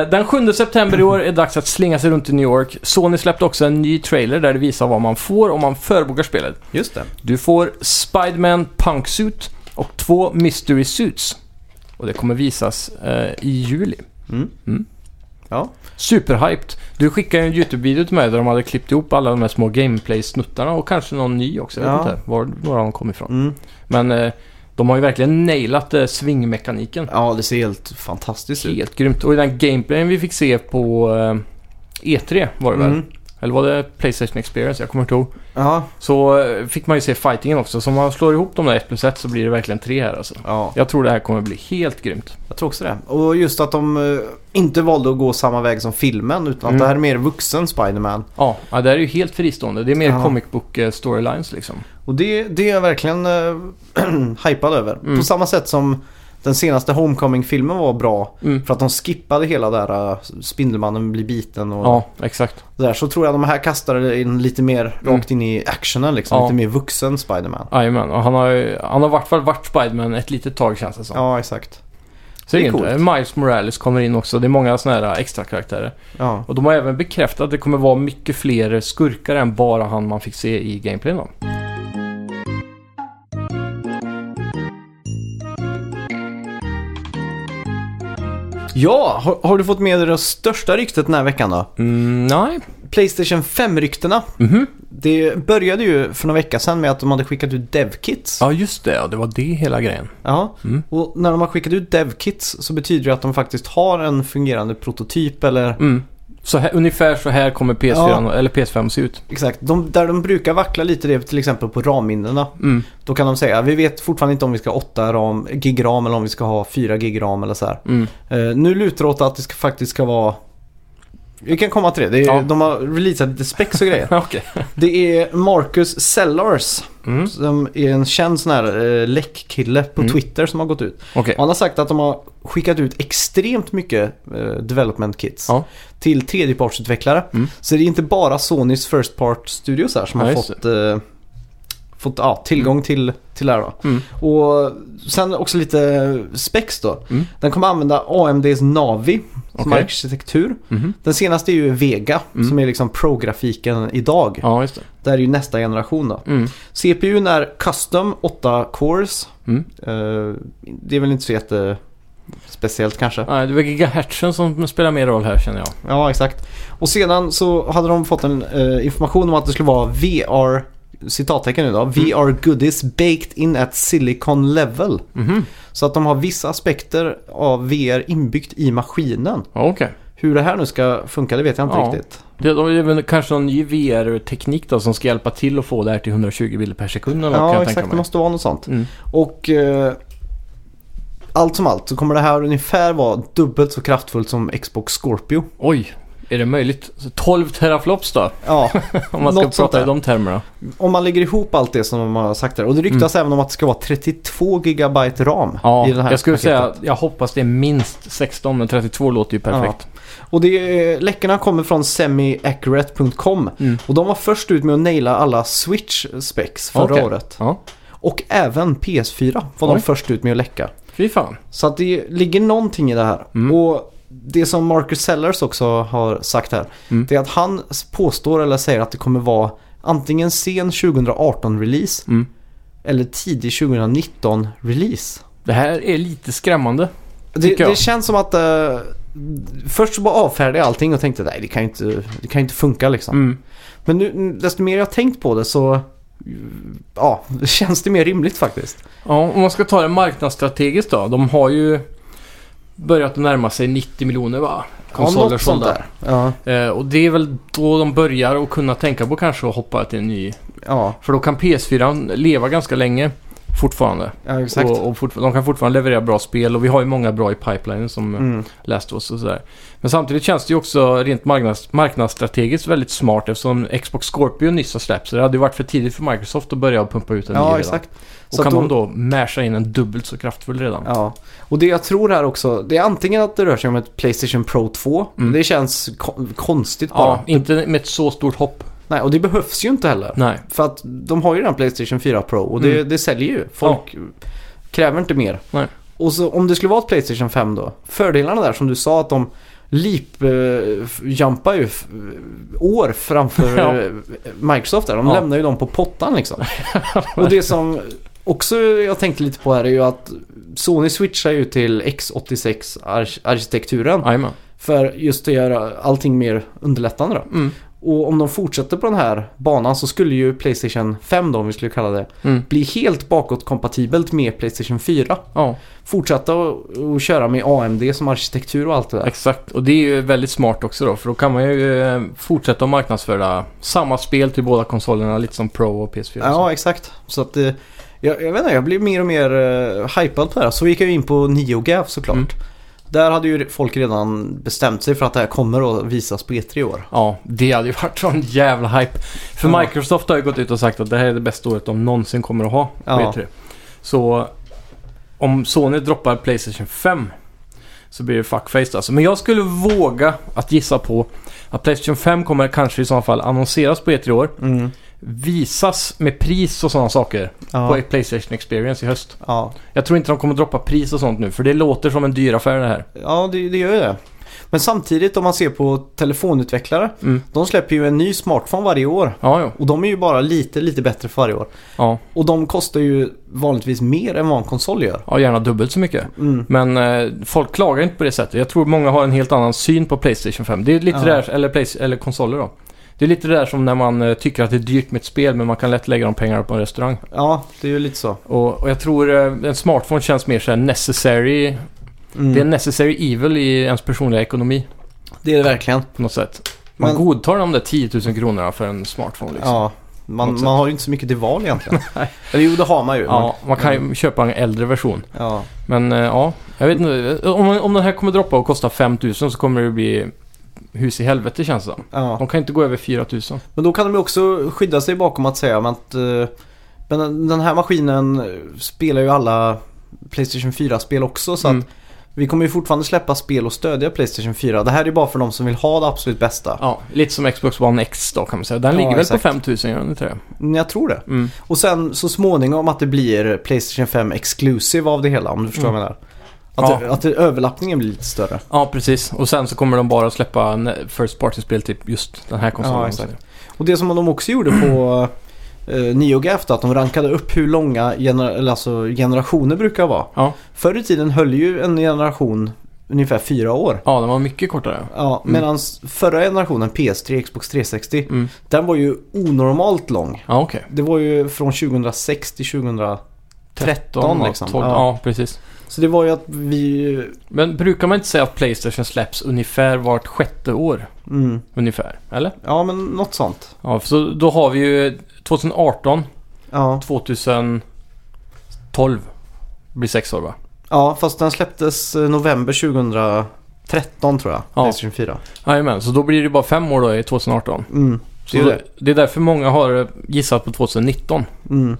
Speaker 2: Eh, Den 7 september i år är det dags att slinga sig runt i New York. Sony släppte också en ny trailer där det visar vad man får om man förbokar spelet.
Speaker 1: Just det.
Speaker 2: Du får Spiderman Punk Suit och två Mystery Suits. Och det kommer visas eh, i juli.
Speaker 1: Mm.
Speaker 2: Mm.
Speaker 1: Ja.
Speaker 2: Superhyped. Du skickade ju en YouTube-video till mig där de hade klippt ihop alla de här små gameplay-snuttarna och kanske någon ny också. Jag vet
Speaker 1: Ja.
Speaker 2: inte var några de kom ifrån.
Speaker 1: Mm.
Speaker 2: Men eh, de har ju verkligen nailat eh, svingmekaniken.
Speaker 1: ja, det ser helt fantastiskt ut.
Speaker 2: Helt grymt. Och i den gameplayen vi fick se på eh, E3 var det väl?
Speaker 1: Mm.
Speaker 2: Eller var det Playstation Experience? Jag kommer inte ihåg.
Speaker 1: Ja.
Speaker 2: Så eh, fick man ju se fightingen också. Så om man slår ihop de där 1 plus 1 så blir det verkligen 3 här alltså.
Speaker 1: ja,
Speaker 2: Jag tror det här kommer bli helt grymt.
Speaker 1: jag tror också det. Och just att de eh, inte valde att gå samma väg som filmen utan
Speaker 2: Mm.
Speaker 1: att det här är mer vuxen Spider-Man.
Speaker 2: Ja, ja, det här är ju helt fristående. Det är mer
Speaker 1: Ja.
Speaker 2: comic book eh, storylines liksom.
Speaker 1: Och det, det är jag verkligen äh, hypad över.
Speaker 2: Mm.
Speaker 1: På samma sätt som den senaste Homecoming-filmen var bra
Speaker 2: Mm.
Speaker 1: för att de skippade hela där eh, Spindelmannen blir biten och
Speaker 2: Ja, exakt.
Speaker 1: det där. Så tror jag de här kastade in lite mer
Speaker 2: Mm.
Speaker 1: rakt in i actionen liksom.
Speaker 2: Ja.
Speaker 1: Lite mer vuxen Spider-Man.
Speaker 2: Jajamän, och han har ju- han har i vart fall varit Spiderman ett litet tag känns det som.
Speaker 1: Ja, exakt.
Speaker 2: så det
Speaker 1: det
Speaker 2: är
Speaker 1: är
Speaker 2: inte. Miles Morales kommer in också. Det är många sådana här eh, extra karaktärer.
Speaker 1: Ja.
Speaker 2: Och de har även bekräftat att det kommer vara mycket eh, fler skurkar än bara han man fick se i gameplayen då.
Speaker 1: Ja, har, har du fått med dig det största ryktet den här veckan då?
Speaker 2: Mm, nej.
Speaker 1: Playstation 5-ryktena.
Speaker 2: Mhm.
Speaker 1: Det började ju för några veckor sedan med att de hade skickat ut DevKits.
Speaker 2: Ja, just det. Ja, det var det hela grejen.
Speaker 1: Ja,
Speaker 2: Mm.
Speaker 1: och när de har skickat ut DevKits så betyder det att de faktiskt har en fungerande prototyp eller
Speaker 2: Mm. Så här, ungefär så här kommer PS4
Speaker 1: Ja.
Speaker 2: eller PS5 se ut.
Speaker 1: exakt. De, där de brukar vackla lite det är till exempel på RAM-minnena.
Speaker 2: Mm.
Speaker 1: Då kan de säga vi vet fortfarande inte om vi ska ha 8 ram, gig ram eller om vi ska ha 4 gig ram eller så här.
Speaker 2: Mm.
Speaker 1: Eh, nu lutar det åt att det ska, faktiskt ska vara vi kan komma till det. det är,
Speaker 2: Ja.
Speaker 1: De har releasat lite specs och grejer.
Speaker 2: Okej.
Speaker 1: Det är Marcus Sellars
Speaker 2: Mm.
Speaker 1: som är en känd sån här eh, läckkille på
Speaker 2: Mm.
Speaker 1: Twitter som har gått ut.
Speaker 2: Okej.
Speaker 1: Han har sagt att de har skickat ut extremt mycket eh, development kits
Speaker 2: Ja.
Speaker 1: till tredjepartsutvecklare.
Speaker 2: Mm.
Speaker 1: Så det är inte bara Sonys First Part Studios här som
Speaker 2: Ja,
Speaker 1: har
Speaker 2: just
Speaker 1: fått, eh, fått ja, tillgång till, till det här. Då.
Speaker 2: Mm.
Speaker 1: Och sen också lite specs då.
Speaker 2: Mm.
Speaker 1: Den kommer använda AMDs Navi som
Speaker 2: Okej.
Speaker 1: arkitektur.
Speaker 2: Mhm.
Speaker 1: Den senaste är ju Vega
Speaker 2: Mm.
Speaker 1: som är liksom pro-grafiken idag.
Speaker 2: Ja, just det.
Speaker 1: Det här är ju nästa generation då.
Speaker 2: Mm.
Speaker 1: CPUn är custom 8 cores.
Speaker 2: Mm.
Speaker 1: Eh, det är väl inte så jätte speciellt kanske.
Speaker 2: Nej, det var gigahertzen som spelar mer roll här känner jag.
Speaker 1: Ja, exakt. Och sedan så hade de fått en eh, information om att det skulle vara VR, citattecken nu då, VR goodies baked in at silicon level.
Speaker 2: Mhm.
Speaker 1: Så att de har vissa aspekter av VR inbyggt i maskinen.
Speaker 2: Ja, Okej.
Speaker 1: Hur det här nu ska funka det vet jag inte
Speaker 2: Ja.
Speaker 1: riktigt.
Speaker 2: Det, det är väl kanske någon ny VR-teknik då som ska hjälpa till att få det här till 120 bilder per sekund eller vad kan
Speaker 1: Ja,
Speaker 2: jag
Speaker 1: exakt.
Speaker 2: tänka
Speaker 1: Det
Speaker 2: mig.
Speaker 1: måste vara något sånt.
Speaker 2: Mm.
Speaker 1: Och eh, allt som allt så kommer det här ungefär vara dubbelt så kraftfullt som Xbox Scorpio.
Speaker 2: Oj, är det möjligt? Så 12 teraflops då?
Speaker 1: Ja,
Speaker 2: Om man ska
Speaker 1: Något sånt
Speaker 2: prata i
Speaker 1: där.
Speaker 2: de termerna.
Speaker 1: om man lägger ihop allt det som de har sagt där. Och det ryktas även om att det ska vara 32 gigabyte ram
Speaker 2: Mm. Ja,
Speaker 1: i den här
Speaker 2: jag skulle
Speaker 1: paketet.
Speaker 2: säga jag hoppas det är minst 16 men 32 låter ju perfekt.
Speaker 1: Och det, är- läckorna kommer från semiaccurate.com.
Speaker 2: Mm.
Speaker 1: Och de var först ut med att naila alla Switch specs förra
Speaker 2: Okej.
Speaker 1: året.
Speaker 2: Ja.
Speaker 1: Och även PS4 var
Speaker 2: Oj.
Speaker 1: de först ut med att läcka.
Speaker 2: Fy fan.
Speaker 1: Så att det ligger någonting i det här.
Speaker 2: Mm.
Speaker 1: Och det som Marcus Sellers också har sagt här.
Speaker 2: Mm.
Speaker 1: Det är att han påstår eller säger att det kommer vara antingen sen 2018-release
Speaker 2: Mm.
Speaker 1: eller tidig 2019-release.
Speaker 2: Det här är lite skrämmande.
Speaker 1: Det,
Speaker 2: Tycker jag.
Speaker 1: det känns som att eh, först så bara avfärdade jag allting och tänkte nej det kan ju inte, det kan ju inte funka liksom.
Speaker 2: Mm.
Speaker 1: Men nu, desto mer jag har tänkt på det så ja, det känns det mer rimligt faktiskt.
Speaker 2: Ja, om man ska ta det marknadsstrategiskt då. De har ju börjat närma sig 90 miljoner va?
Speaker 1: ja,
Speaker 2: Konsoler
Speaker 1: något sånt där. Ja,
Speaker 2: Eh, och det är väl då de börjar att kunna tänka på kanske att hoppa till en ny.
Speaker 1: ja,
Speaker 2: För då kan PS4 leva ganska länge fortfarande.
Speaker 1: ja exakt.
Speaker 2: Och, och fortfar- de kan fortfarande leverera bra spel och vi har ju många bra i pipelinen som mm.
Speaker 1: Mm.
Speaker 2: läst oss och sådär. Men samtidigt känns det ju också rent marknads, marknadsstrategiskt väldigt smart eftersom Xbox Scorpio nyss har släppts. Så det hade ju varit för tidigt för Microsoft att börja pumpa ut en ny
Speaker 1: Ja,
Speaker 2: redan.
Speaker 1: exakt.
Speaker 2: Och
Speaker 1: Så
Speaker 2: kan
Speaker 1: att
Speaker 2: de då masha in en dubbelt så kraftfull redan.
Speaker 1: Ja, och det jag tror här också, det är antingen att det rör sig om ett Playstation Pro 2.
Speaker 2: Mm.
Speaker 1: Det känns ko- konstigt bara.
Speaker 2: Ja, inte med ett så stort hopp.
Speaker 1: Nej, och det behövs ju inte heller.
Speaker 2: Nej.
Speaker 1: För att de har ju den Playstation 4 Pro och det,
Speaker 2: Mm.
Speaker 1: det säljer ju. Folk kräver inte mer.
Speaker 2: Nej.
Speaker 1: Och så om det skulle vara ett Playstation 5 då. Fördelarna där som du sa att de leap-jumpar ju f- år framför
Speaker 2: Ja.
Speaker 1: eh, Microsoft där. De
Speaker 2: Ja.
Speaker 1: lämnar ju dem på pottan liksom. och det som också jag tänkte lite på här är ju att Sony switchar ju till X86-arkitekturen.
Speaker 2: Jajamän.
Speaker 1: För just att göra allting mer underlättande då.
Speaker 2: Mm.
Speaker 1: Och om de fortsätter på den här banan så skulle ju Playstation 5 då, om vi skulle kalla det,
Speaker 2: Mm.
Speaker 1: bli helt bakåtkompatibelt med Playstation 4.
Speaker 2: Ja,
Speaker 1: Fortsätta och, och köra med AMD som arkitektur och allt det där.
Speaker 2: exakt. Och det är ju väldigt smart också då. För då kan man ju eh, fortsätta att marknadsföra samma spel till båda konsolerna. Lite som Pro och PS4. och så.
Speaker 1: Ja, exakt. Så att eh, jag, jag vet inte, jag blir mer och mer uh, hypad på det här. Så gick jag in på NeoGAF såklart.
Speaker 2: Mm.
Speaker 1: Där hade ju folk redan bestämt sig för att det här kommer att visas på E3 i år.
Speaker 2: Ja, det hade ju varit sån jävla hype. För
Speaker 1: Ja.
Speaker 2: Microsoft har ju gått ut och sagt att det här är det bästa året de någonsin kommer att ha på
Speaker 1: Ja.
Speaker 2: E3. Så om Sony droppar Playstation 5 så blir det fuckface alltså. Men jag skulle våga att gissa på att Playstation 5 kommer kanske i så fall annonseras på E3 i år.
Speaker 1: Mm.
Speaker 2: Visas med pris och sådana saker
Speaker 1: Ja,
Speaker 2: på Playstation Experience i höst.
Speaker 1: ja.
Speaker 2: Jag tror inte de kommer droppa pris och sånt nu för det låter som en dyr affär det här.
Speaker 1: ja det, det gör ju det. Men samtidigt om man ser på telefonutvecklare.
Speaker 2: Mm.
Speaker 1: De släpper ju en ny smartphone varje år.
Speaker 2: Ja, jo.
Speaker 1: Och de är ju bara lite, lite bättre för varje år.
Speaker 2: Ja.
Speaker 1: Och de kostar ju vanligtvis mer än vad en konsol gör.
Speaker 2: ja, gärna dubbelt så mycket.
Speaker 1: Mm.
Speaker 2: Men eh, folk klagar inte på det sättet. Jag tror många har en helt annan syn på Playstation 5. Det är lite
Speaker 1: Ja.
Speaker 2: det där, eller, Play- eller konsoler då. Det är lite det där som när man eh, tycker att det är dyrt med ett spel men man kan lätt lägga de pengarna på en restaurang.
Speaker 1: Ja, det är ju lite så.
Speaker 2: Och, och jag tror eh, en smartphone känns mer såhär necessary.
Speaker 1: Mm.
Speaker 2: Det är en necessary evil i ens personliga ekonomi
Speaker 1: det är det verkligen.
Speaker 2: på något sätt. Man
Speaker 1: Men-
Speaker 2: godtar de där 10 000 kronorna för en smartphone liksom.
Speaker 1: Ja,
Speaker 2: Något
Speaker 1: man,
Speaker 2: sätt.
Speaker 1: man har ju inte så mycket till val egentligen.
Speaker 2: Nej.
Speaker 1: Eller jo, det har man ju.
Speaker 2: Ja, man kan ju
Speaker 1: Mm.
Speaker 2: köpa en äldre version.
Speaker 1: men- ja.
Speaker 2: Men eh, ja, jag vet inte. Om, om den här kommer droppa och kosta 5 000 så kommer det bli hus i helvete känns det som.
Speaker 1: Ja.
Speaker 2: De kan inte gå över 4 000.
Speaker 1: Men då kan de ju också skydda sig bakom att säga men att eh, men den- den här maskinen eh, spelar ju alla Playstation 4-spel också så
Speaker 2: Mm.
Speaker 1: att vi kommer ju fortfarande släppa spel och stödja Playstation 4. Det här är ju bara för de som vill ha det absolut bästa.
Speaker 2: Ja, lite som Xbox One X då kan man säga. Den
Speaker 1: Ja,
Speaker 2: ligger väl
Speaker 1: exakt.
Speaker 2: på 5 000 gör den inte det?
Speaker 1: Men Jag tror det.
Speaker 2: Mm.
Speaker 1: Och sen så småningom att det blir Playstation 5 exclusive av det hela om du förstår vad jag menar. Att,
Speaker 2: Mm. Ja.
Speaker 1: att det, överlappningen blir lite större.
Speaker 2: Ja, precis. Och sen så kommer de bara släppa en eh, First Party-spel till just den här konsolen.
Speaker 1: Ja, exakt. Och det som de också gjorde på eh, NeoGaf då, att de rankade upp hur långa gener- eller alltså generationer brukar vara.
Speaker 2: Ja.
Speaker 1: Förr i tiden höll ju en generation ungefär fyra år.
Speaker 2: ja, den var mycket kortare.
Speaker 1: Ja,
Speaker 2: Mm.
Speaker 1: Medan förra generationen PS3, Xbox 360,
Speaker 2: Mm.
Speaker 1: den var ju onormalt lång.
Speaker 2: Ja, okej.
Speaker 1: Det var ju från 2006 till 2000. 13
Speaker 2: och
Speaker 1: liksom.
Speaker 2: 12. Ja.
Speaker 1: Ja.
Speaker 2: precis.
Speaker 1: Så det var ju att vi...
Speaker 2: Men brukar man inte säga att Playstation släpps ungefär vart sjätte år?
Speaker 1: Mm,
Speaker 2: Ungefär, eller?
Speaker 1: ja, men något sånt.
Speaker 2: Ja, för så då har vi ju 2018,
Speaker 1: Ja.
Speaker 2: 2012. Blir sex år va?
Speaker 1: Ja, fast den släpptes eh, november 2013 tror jag.
Speaker 2: Ja.
Speaker 1: Playstation 4.
Speaker 2: Jajamän, så då blir det bara fem år då i 2018.
Speaker 1: Mm.
Speaker 2: Så
Speaker 1: Det är
Speaker 2: då,
Speaker 1: det.
Speaker 2: det är därför många har gissat på 2019.
Speaker 1: Mm.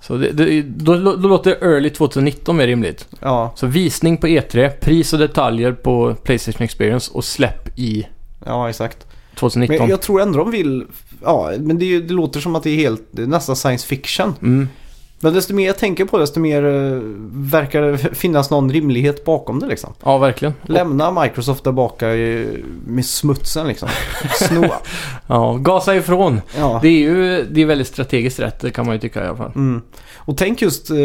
Speaker 2: Så det, det, då, då låter early 2019 mer rimligt.
Speaker 1: Ja,
Speaker 2: Så visning på E3, pris och detaljer på Playstation Experience och släpp i
Speaker 1: ja, exakt. Men
Speaker 2: 2019.
Speaker 1: jag tror ändå de vill... Ja, men det, är ju- det låter som att det är helt... Det är nästan science fiction.
Speaker 2: Mm.
Speaker 1: Men desto mer jag tänker på det, desto mer eh, verkar det finnas någon rimlighet bakom det liksom.
Speaker 2: Ja, verkligen.
Speaker 1: Lämna Microsoft där bak i, med smutsen liksom. Sno...
Speaker 2: Ja, gasa ifrån.
Speaker 1: Ja.
Speaker 2: Det är ju det är väldigt strategiskt rätt, det kan man ju tycka i alla fall.
Speaker 1: Mm. Och tänk just, eh,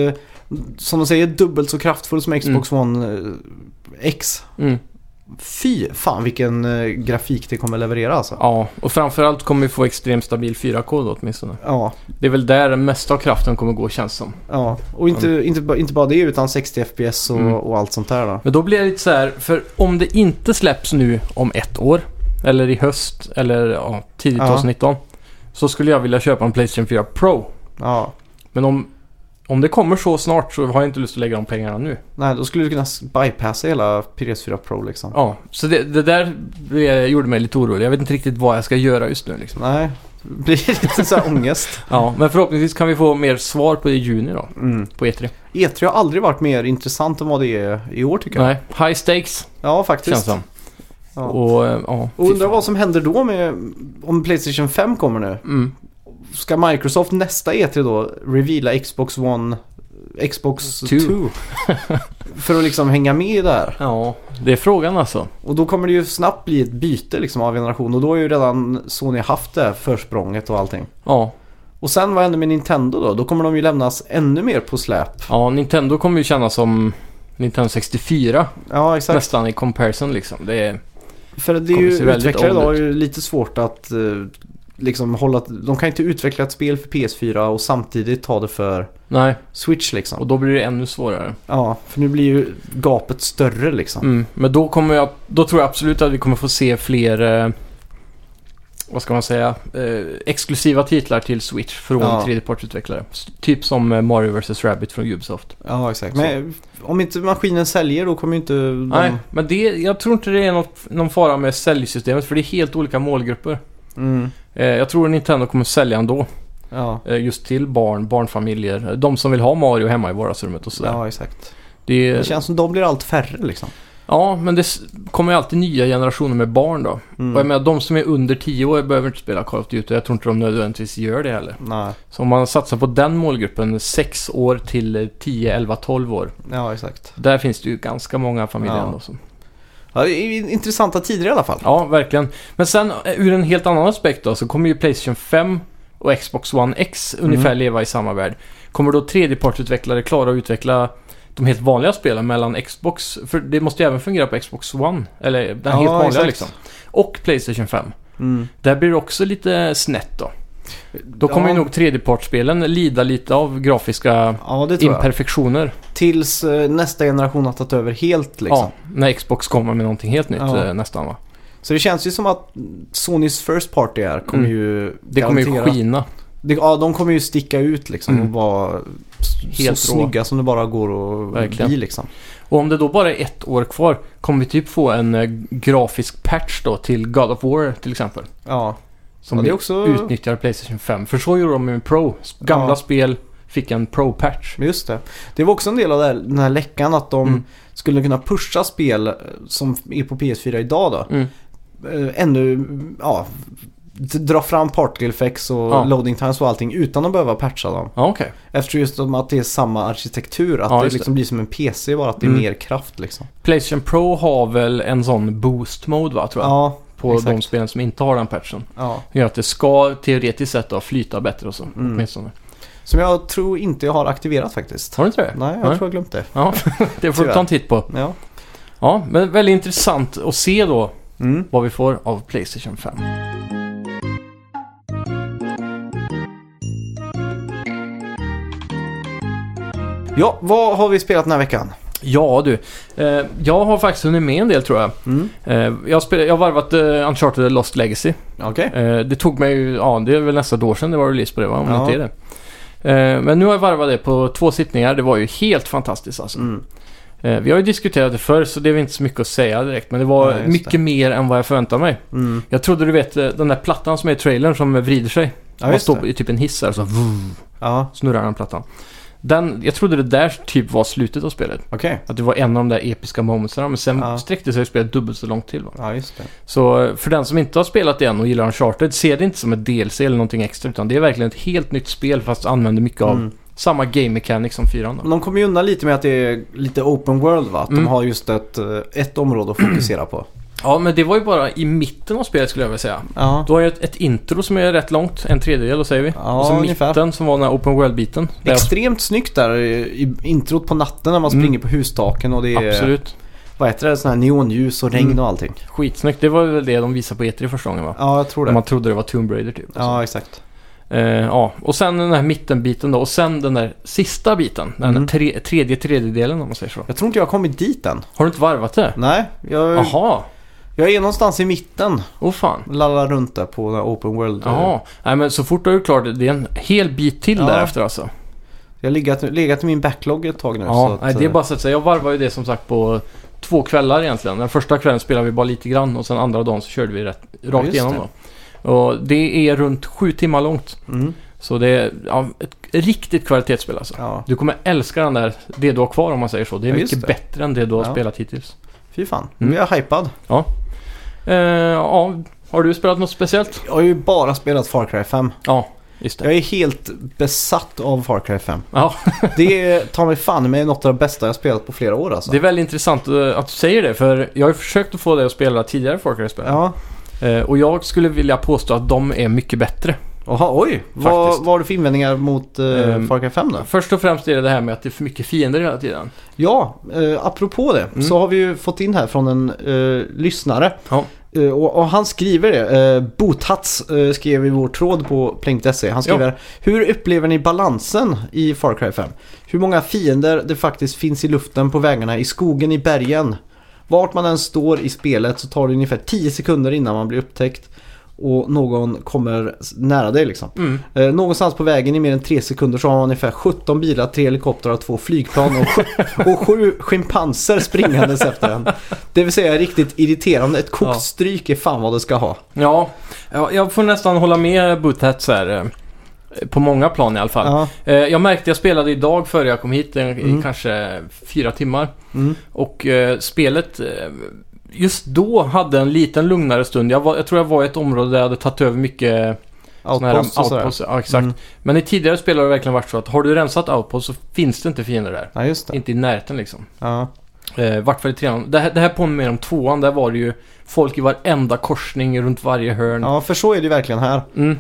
Speaker 1: som de säger, dubbelt så kraftfull som Xbox One eh, X.
Speaker 2: Mm.
Speaker 1: Fy fan vilken eh, grafik det kommer leverera alltså.
Speaker 2: Ja, och framförallt kommer vi få extremt stabil 4K då åtminstone.
Speaker 1: Ja,
Speaker 2: Det är väl där den mesta av kraften kommer gå känns som.
Speaker 1: ja. och inte, inte, ba- inte bara det utan 60 FPS och,
Speaker 2: Mm.
Speaker 1: och allt sånt där då.
Speaker 2: Men då blir det lite så här, för om det inte släpps nu om ett år, eller i höst, eller ja, tidigt
Speaker 1: Ja.
Speaker 2: 2019, så skulle jag vilja köpa en Playstation 4 Pro.
Speaker 1: Ja.
Speaker 2: Men om, om det kommer så snart så har jag inte lust att lägga de pengarna nu.
Speaker 1: Nej, då skulle du kunna s- bypassa hela PS4 Pro liksom.
Speaker 2: Ja, så det, det där blev- gjorde mig lite orolig. Jag vet inte riktigt vad jag ska göra just nu liksom.
Speaker 1: Nej, det blir lite så här ångest.
Speaker 2: Ja, men förhoppningsvis kan vi få mer svar på det i juni då,
Speaker 1: Mm.
Speaker 2: på E E3.
Speaker 1: E3 har aldrig varit mer intressant än vad det är i år tycker jag.
Speaker 2: Nej, high stakes
Speaker 1: Ja, faktiskt.
Speaker 2: känns som.
Speaker 1: Ja. Och,
Speaker 2: Och, eh, ja. fy
Speaker 1: undrar
Speaker 2: fan.
Speaker 1: vad som händer då med, om Playstation 5 kommer nu.
Speaker 2: Mm.
Speaker 1: Ska Microsoft nästa E3 då reveala Xbox One, Xbox
Speaker 2: Two.
Speaker 1: 2? för att liksom hänga med där.
Speaker 2: Ja, det är frågan alltså.
Speaker 1: Och då kommer det ju snabbt bli ett byte liksom av generation och då har ju redan Sony haft det här försprånget och allting.
Speaker 2: Ja.
Speaker 1: Och sen vad händer med Nintendo då? Då kommer de ju lämnas ännu mer på släp.
Speaker 2: ja, Nintendo kommer ju kännas som Nintendo 64
Speaker 1: Ja exakt.
Speaker 2: nästan i comparison liksom. Det är,
Speaker 1: För det är
Speaker 2: kommer
Speaker 1: ju
Speaker 2: se väldigt
Speaker 1: utvecklare
Speaker 2: old
Speaker 1: idag har ju lite svårt att eh, liksom hålla... De kan inte utveckla ett spel för PS4 och samtidigt ta det för
Speaker 2: nej,
Speaker 1: Switch
Speaker 2: och
Speaker 1: liksom.
Speaker 2: då blir det ännu svårare.
Speaker 1: Ja, för nu blir ju gapet större liksom.
Speaker 2: Mm. Men då kommer jag, då tror jag absolut att vi kommer få se fler, eh, vad ska man säga, eh, exklusiva titlar till Switch från
Speaker 1: Ja.
Speaker 2: tredjepartsutvecklare. S- Typ som eh, Mario vs. Rabbit från Ubisoft.
Speaker 1: Ja, exakt. Men om inte maskinen säljer då kommer ju inte de...
Speaker 2: Nej, men det, jag tror inte det är något, någon fara med säljsystemet för det är helt olika målgrupper.
Speaker 1: Mm.
Speaker 2: Eh, jag tror Nintendo kommer sälja ändå.
Speaker 1: Ja.
Speaker 2: Eh, just till barn, barnfamiljer, eh, de som vill ha Mario hemma i vardagsrummet och sådär.
Speaker 1: ja, exakt.
Speaker 2: Det,
Speaker 1: Det känns som de blir allt färre liksom.
Speaker 2: Ja, men det s- kommer ju alltid nya generationer med barn då. Och jag
Speaker 1: Mm.
Speaker 2: menar, de som är under 10 år behöver inte spela Call of Duty. Jag tror inte de nödvändigtvis gör det heller.
Speaker 1: Nej,
Speaker 2: Så om man satsar på den målgruppen, 6 år till eh, 10, 11, 12 år.
Speaker 1: ja exakt.
Speaker 2: Där finns det ju ganska många familjer
Speaker 1: Ja.
Speaker 2: ändå som...
Speaker 1: Ja, Ja, det är intressanta tider i alla fall.
Speaker 2: Ja, verkligen. Men sen eh, ur en helt annan aspekt då, så kommer ju Playstation 5 och Xbox One X ungefär
Speaker 1: Mm.
Speaker 2: leva i samma värld. Kommer då tredjepartsutvecklare klara att utveckla de helt vanliga spelen mellan Xbox, för det måste ju även fungera på Xbox One, eller den
Speaker 1: Ja,
Speaker 2: helt vanliga
Speaker 1: exakt.
Speaker 2: liksom. Och Playstation 5. Där blir det också lite snett då. Mm. Då kommer
Speaker 1: Mm. ja.
Speaker 2: ju nog tredjepartsspelen lida lite av grafiska
Speaker 1: Ja, det tror jag.
Speaker 2: imperfektioner.
Speaker 1: Tills eh, nästa generation har tagit över helt liksom.
Speaker 2: Ja, när Xbox kommer med någonting helt nytt
Speaker 1: Ja.
Speaker 2: eh, nästan va.
Speaker 1: Så det känns ju som att Sonys First Party här kommer
Speaker 2: Mm.
Speaker 1: ju
Speaker 2: Det kommer ju
Speaker 1: garanterat-
Speaker 2: skina.
Speaker 1: Det, ja, de kommer ju sticka ut liksom
Speaker 2: Mm.
Speaker 1: och vara
Speaker 2: Helt
Speaker 1: Helt
Speaker 2: rå.
Speaker 1: så snygga som det bara går att
Speaker 2: Verkligen.
Speaker 1: bli liksom.
Speaker 2: Och om det då bara är ett år kvar, kommer vi typ få en eh, grafisk patch då till God of War till exempel?
Speaker 1: Ja,
Speaker 2: Som
Speaker 1: ja, det är också...
Speaker 2: utnyttjar Playstation 5. För så gjorde de med Pro. S- Gamla
Speaker 1: Ja.
Speaker 2: spel fick en Pro-patch.
Speaker 1: Just det. Det var också en del av det här, den här läckan att de
Speaker 2: Mm.
Speaker 1: skulle kunna pusha spel eh, som är på PS4 idag då.
Speaker 2: Mm.
Speaker 1: Eh, Ännu, ja, d- dra fram particle effects och
Speaker 2: Ja.
Speaker 1: loading times och allting utan att behöva patcha dem.
Speaker 2: Ja, okej.
Speaker 1: Eftersom just om att det är samma arkitektur, att
Speaker 2: Ja,
Speaker 1: det
Speaker 2: just
Speaker 1: liksom blir som en PC bara, att det är
Speaker 2: Mm.
Speaker 1: mer kraft liksom.
Speaker 2: Playstation Pro har väl en sån boost-mode va, tror jag?
Speaker 1: Ja,
Speaker 2: på de
Speaker 1: exakt.
Speaker 2: spelen som inte har den patchen.
Speaker 1: ja.
Speaker 2: Det gör att det ska teoretiskt sett då, flyta bättre och så,
Speaker 1: Mm.
Speaker 2: åtminstone.
Speaker 1: Som jag tror inte jag har aktiverat faktiskt.
Speaker 2: Har du inte det?
Speaker 1: Nej, jag
Speaker 2: Nej.
Speaker 1: tror jag glömt det.
Speaker 2: Ja, det får du
Speaker 1: Tyvärr.
Speaker 2: ta en titt på.
Speaker 1: Ja.
Speaker 2: Ja, men väldigt intressant att se då
Speaker 1: Mm.
Speaker 2: vad vi får av Playstation 5.
Speaker 1: Ja, vad har vi spelat den här veckan?
Speaker 2: Ja du, eh, jag har faktiskt hunnit med en del tror jag.
Speaker 1: Mm.
Speaker 2: Eh, jag, spel, jag har varvat eh, Uncharted Lost Legacy.
Speaker 1: Okej.
Speaker 2: Eh, det tog mig ju, ja det är väl nästan ett år sedan det var release på det va? Om det
Speaker 1: Ja.
Speaker 2: inte är det. Eh, men nu har jag varvat det på två sittningar. Det var ju helt fantastiskt alltså.
Speaker 1: Mm.
Speaker 2: Eh, vi har ju diskuterat det förr så det är väl inte så mycket att säga direkt. Men det
Speaker 1: Nej,
Speaker 2: var
Speaker 1: just det.
Speaker 2: mycket mer än vad jag förväntade mig.
Speaker 1: Mm.
Speaker 2: Jag trodde du vet eh, den där plattan som är i trailern som vrider sig.
Speaker 1: Ja,
Speaker 2: Man
Speaker 1: just
Speaker 2: står på-
Speaker 1: det.
Speaker 2: i typ en hiss här och så vroom,
Speaker 1: Ja,
Speaker 2: snurrar den plattan. Den, jag trodde det där typ var slutet av spelet.
Speaker 1: okej.
Speaker 2: Att det var en av de där episka momentsen. Men sen
Speaker 1: Ja.
Speaker 2: sträckte sig spelet dubbelt så långt till. Va?
Speaker 1: Ja, just det.
Speaker 2: Så eh, för den som inte har spelat det än och gillar Uncharted, se det inte som ett DLC eller någonting extra. Utan det är verkligen ett helt nytt spel fast använder mycket av
Speaker 1: Mm.
Speaker 2: samma game mechanic som fyran.
Speaker 1: Men
Speaker 2: Då.
Speaker 1: de kommer ju undan lite med att det är lite open world va? Att
Speaker 2: Mm.
Speaker 1: de har just ett, eh, ett område att fokusera på.
Speaker 2: Ja, men det var ju bara i mitten av spelet skulle jag vilja säga.
Speaker 1: Ja.
Speaker 2: Du har ju ett, ett intro som är rätt långt, en tredjedel då säger vi.
Speaker 1: Ja,
Speaker 2: och så
Speaker 1: ungefär.
Speaker 2: mitten som var den här open world-biten. Där jag-
Speaker 1: Extremt snyggt där i i introt på natten när man
Speaker 2: Mm.
Speaker 1: springer på hustaken och det är
Speaker 2: Absolut.
Speaker 1: vad heter det, sån här neonljus och regn
Speaker 2: Mm.
Speaker 1: och allting.
Speaker 2: Skitsnyggt. Det var väl det de visade på E3 första gången va?
Speaker 1: Ja, jag tror det.
Speaker 2: Man trodde det var Tomb Raider typ. och så.
Speaker 1: Ja, exakt.
Speaker 2: Eh, ja, och sen den här mittenbiten då och sen den där sista biten. Den
Speaker 1: Mm.
Speaker 2: där tre, tredje tredjedelen om man säger så.
Speaker 1: Jag tror inte jag har kommit dit än.
Speaker 2: Har du inte varvat det?
Speaker 1: Nej, jag,
Speaker 2: Jaha,
Speaker 1: jag är någonstans i mitten.
Speaker 2: åh fan.
Speaker 1: Lallar runt där på den här open world.
Speaker 2: Jaha, nej men så fort du är klar, det är en hel bit till
Speaker 1: Ja.
Speaker 2: därefter alltså.
Speaker 1: Jag har legat, legat i min backlog ett tag nu. så
Speaker 2: Ja,
Speaker 1: att, eh,
Speaker 2: nej, det är bara så att säga. Jag varvade ju det som sagt på två kvällar egentligen. Den första kvällen spelade vi bara lite grann och sen andra dagen så körde vi rätt, rakt
Speaker 1: just
Speaker 2: igenom
Speaker 1: det.
Speaker 2: då. Och det är runt sju timmar långt.
Speaker 1: Mm,
Speaker 2: Så det är ja, ett riktigt kvalitetsspel alltså.
Speaker 1: ja,
Speaker 2: Du kommer älska den där, det du har kvar om man säger så. Det är
Speaker 1: Ja, just
Speaker 2: mycket
Speaker 1: det.
Speaker 2: bättre än det du har
Speaker 1: Ja.
Speaker 2: spelat hittills.
Speaker 1: fy fan.
Speaker 2: Mm.
Speaker 1: Nu är jag hypad.
Speaker 2: Eh, ja, har du spelat något speciellt?
Speaker 1: Jag har ju bara spelat Far Cry 5.
Speaker 2: Ja, just det.
Speaker 1: Jag är helt besatt av Far Cry 5.
Speaker 2: Ja,
Speaker 1: Det är, ta mig fan med något av det bästa jag spelat på flera år alltså.
Speaker 2: det är väldigt intressant eh, att du säger det för jag har ju försökt att få dig att spela tidigare Far Cry-spel.
Speaker 1: Ja,
Speaker 2: Eh, och jag skulle vilja påstå att de är mycket bättre.
Speaker 1: Jaha, oj. Vad,
Speaker 2: Faktiskt.
Speaker 1: vad har du för invändningar mot eh,
Speaker 2: Ehm,
Speaker 1: Far Cry 5 då?
Speaker 2: Först och främst är det det här med att det är för mycket fiender hela tiden.
Speaker 1: Ja, eh, apropå det
Speaker 2: Mm.
Speaker 1: så har vi ju fått in här från en eh, lyssnare.
Speaker 2: Ja.
Speaker 1: Eh, och, och han skriver det. Eh, Botats eh, skrev i vår tråd på Plink.se. Han skriver Hur upplever ni balansen i Far Cry 5? Hur många fiender det faktiskt finns i luften, på vägarna, i skogen, i bergen? Vart man än står i spelet så tar det ungefär 10 sekunder innan man blir upptäckt och någon kommer s- nära dig liksom.
Speaker 2: Mm.
Speaker 1: Eh, någonstans på vägen i mer än 3 sekunder så har man ungefär 17 bilar, 3 helikoptrar och 2 flygplan och, sju- och 7 schimpanser springandes efter en. Det vill säga riktigt irriterande. Ett kokt
Speaker 2: Ja.
Speaker 1: stryk är fan vad det ska ha.
Speaker 2: Ja, ja, jag får nästan hålla med Butthats här. Eh, på många plan i alla fall.
Speaker 1: Ja.
Speaker 2: Eh, jag märkte, jag spelade idag före jag kom hit eh, i
Speaker 1: Mm.
Speaker 2: kanske fyra timmar.
Speaker 1: Mm.
Speaker 2: Och eh, spelet eh, just då hade en liten lugnare stund. Jag, var, jag tror jag var i ett område där jag hade tagit över mycket såna här
Speaker 1: Outpost och sådär.
Speaker 2: outposts. Ja, exakt.
Speaker 1: Mm.
Speaker 2: Men i tidigare spel har det verkligen varit så att har du rensat outpost så finns det inte fiender där.
Speaker 1: Ja, just det.
Speaker 2: Inte i närheten liksom.
Speaker 1: Ja.
Speaker 2: Eh, vart var det trean? Det här, det här påminner om tvåan. Där var det ju folk i varenda korsning runt varje hörn.
Speaker 1: Ja, för så är det ju verkligen här.
Speaker 2: Mm.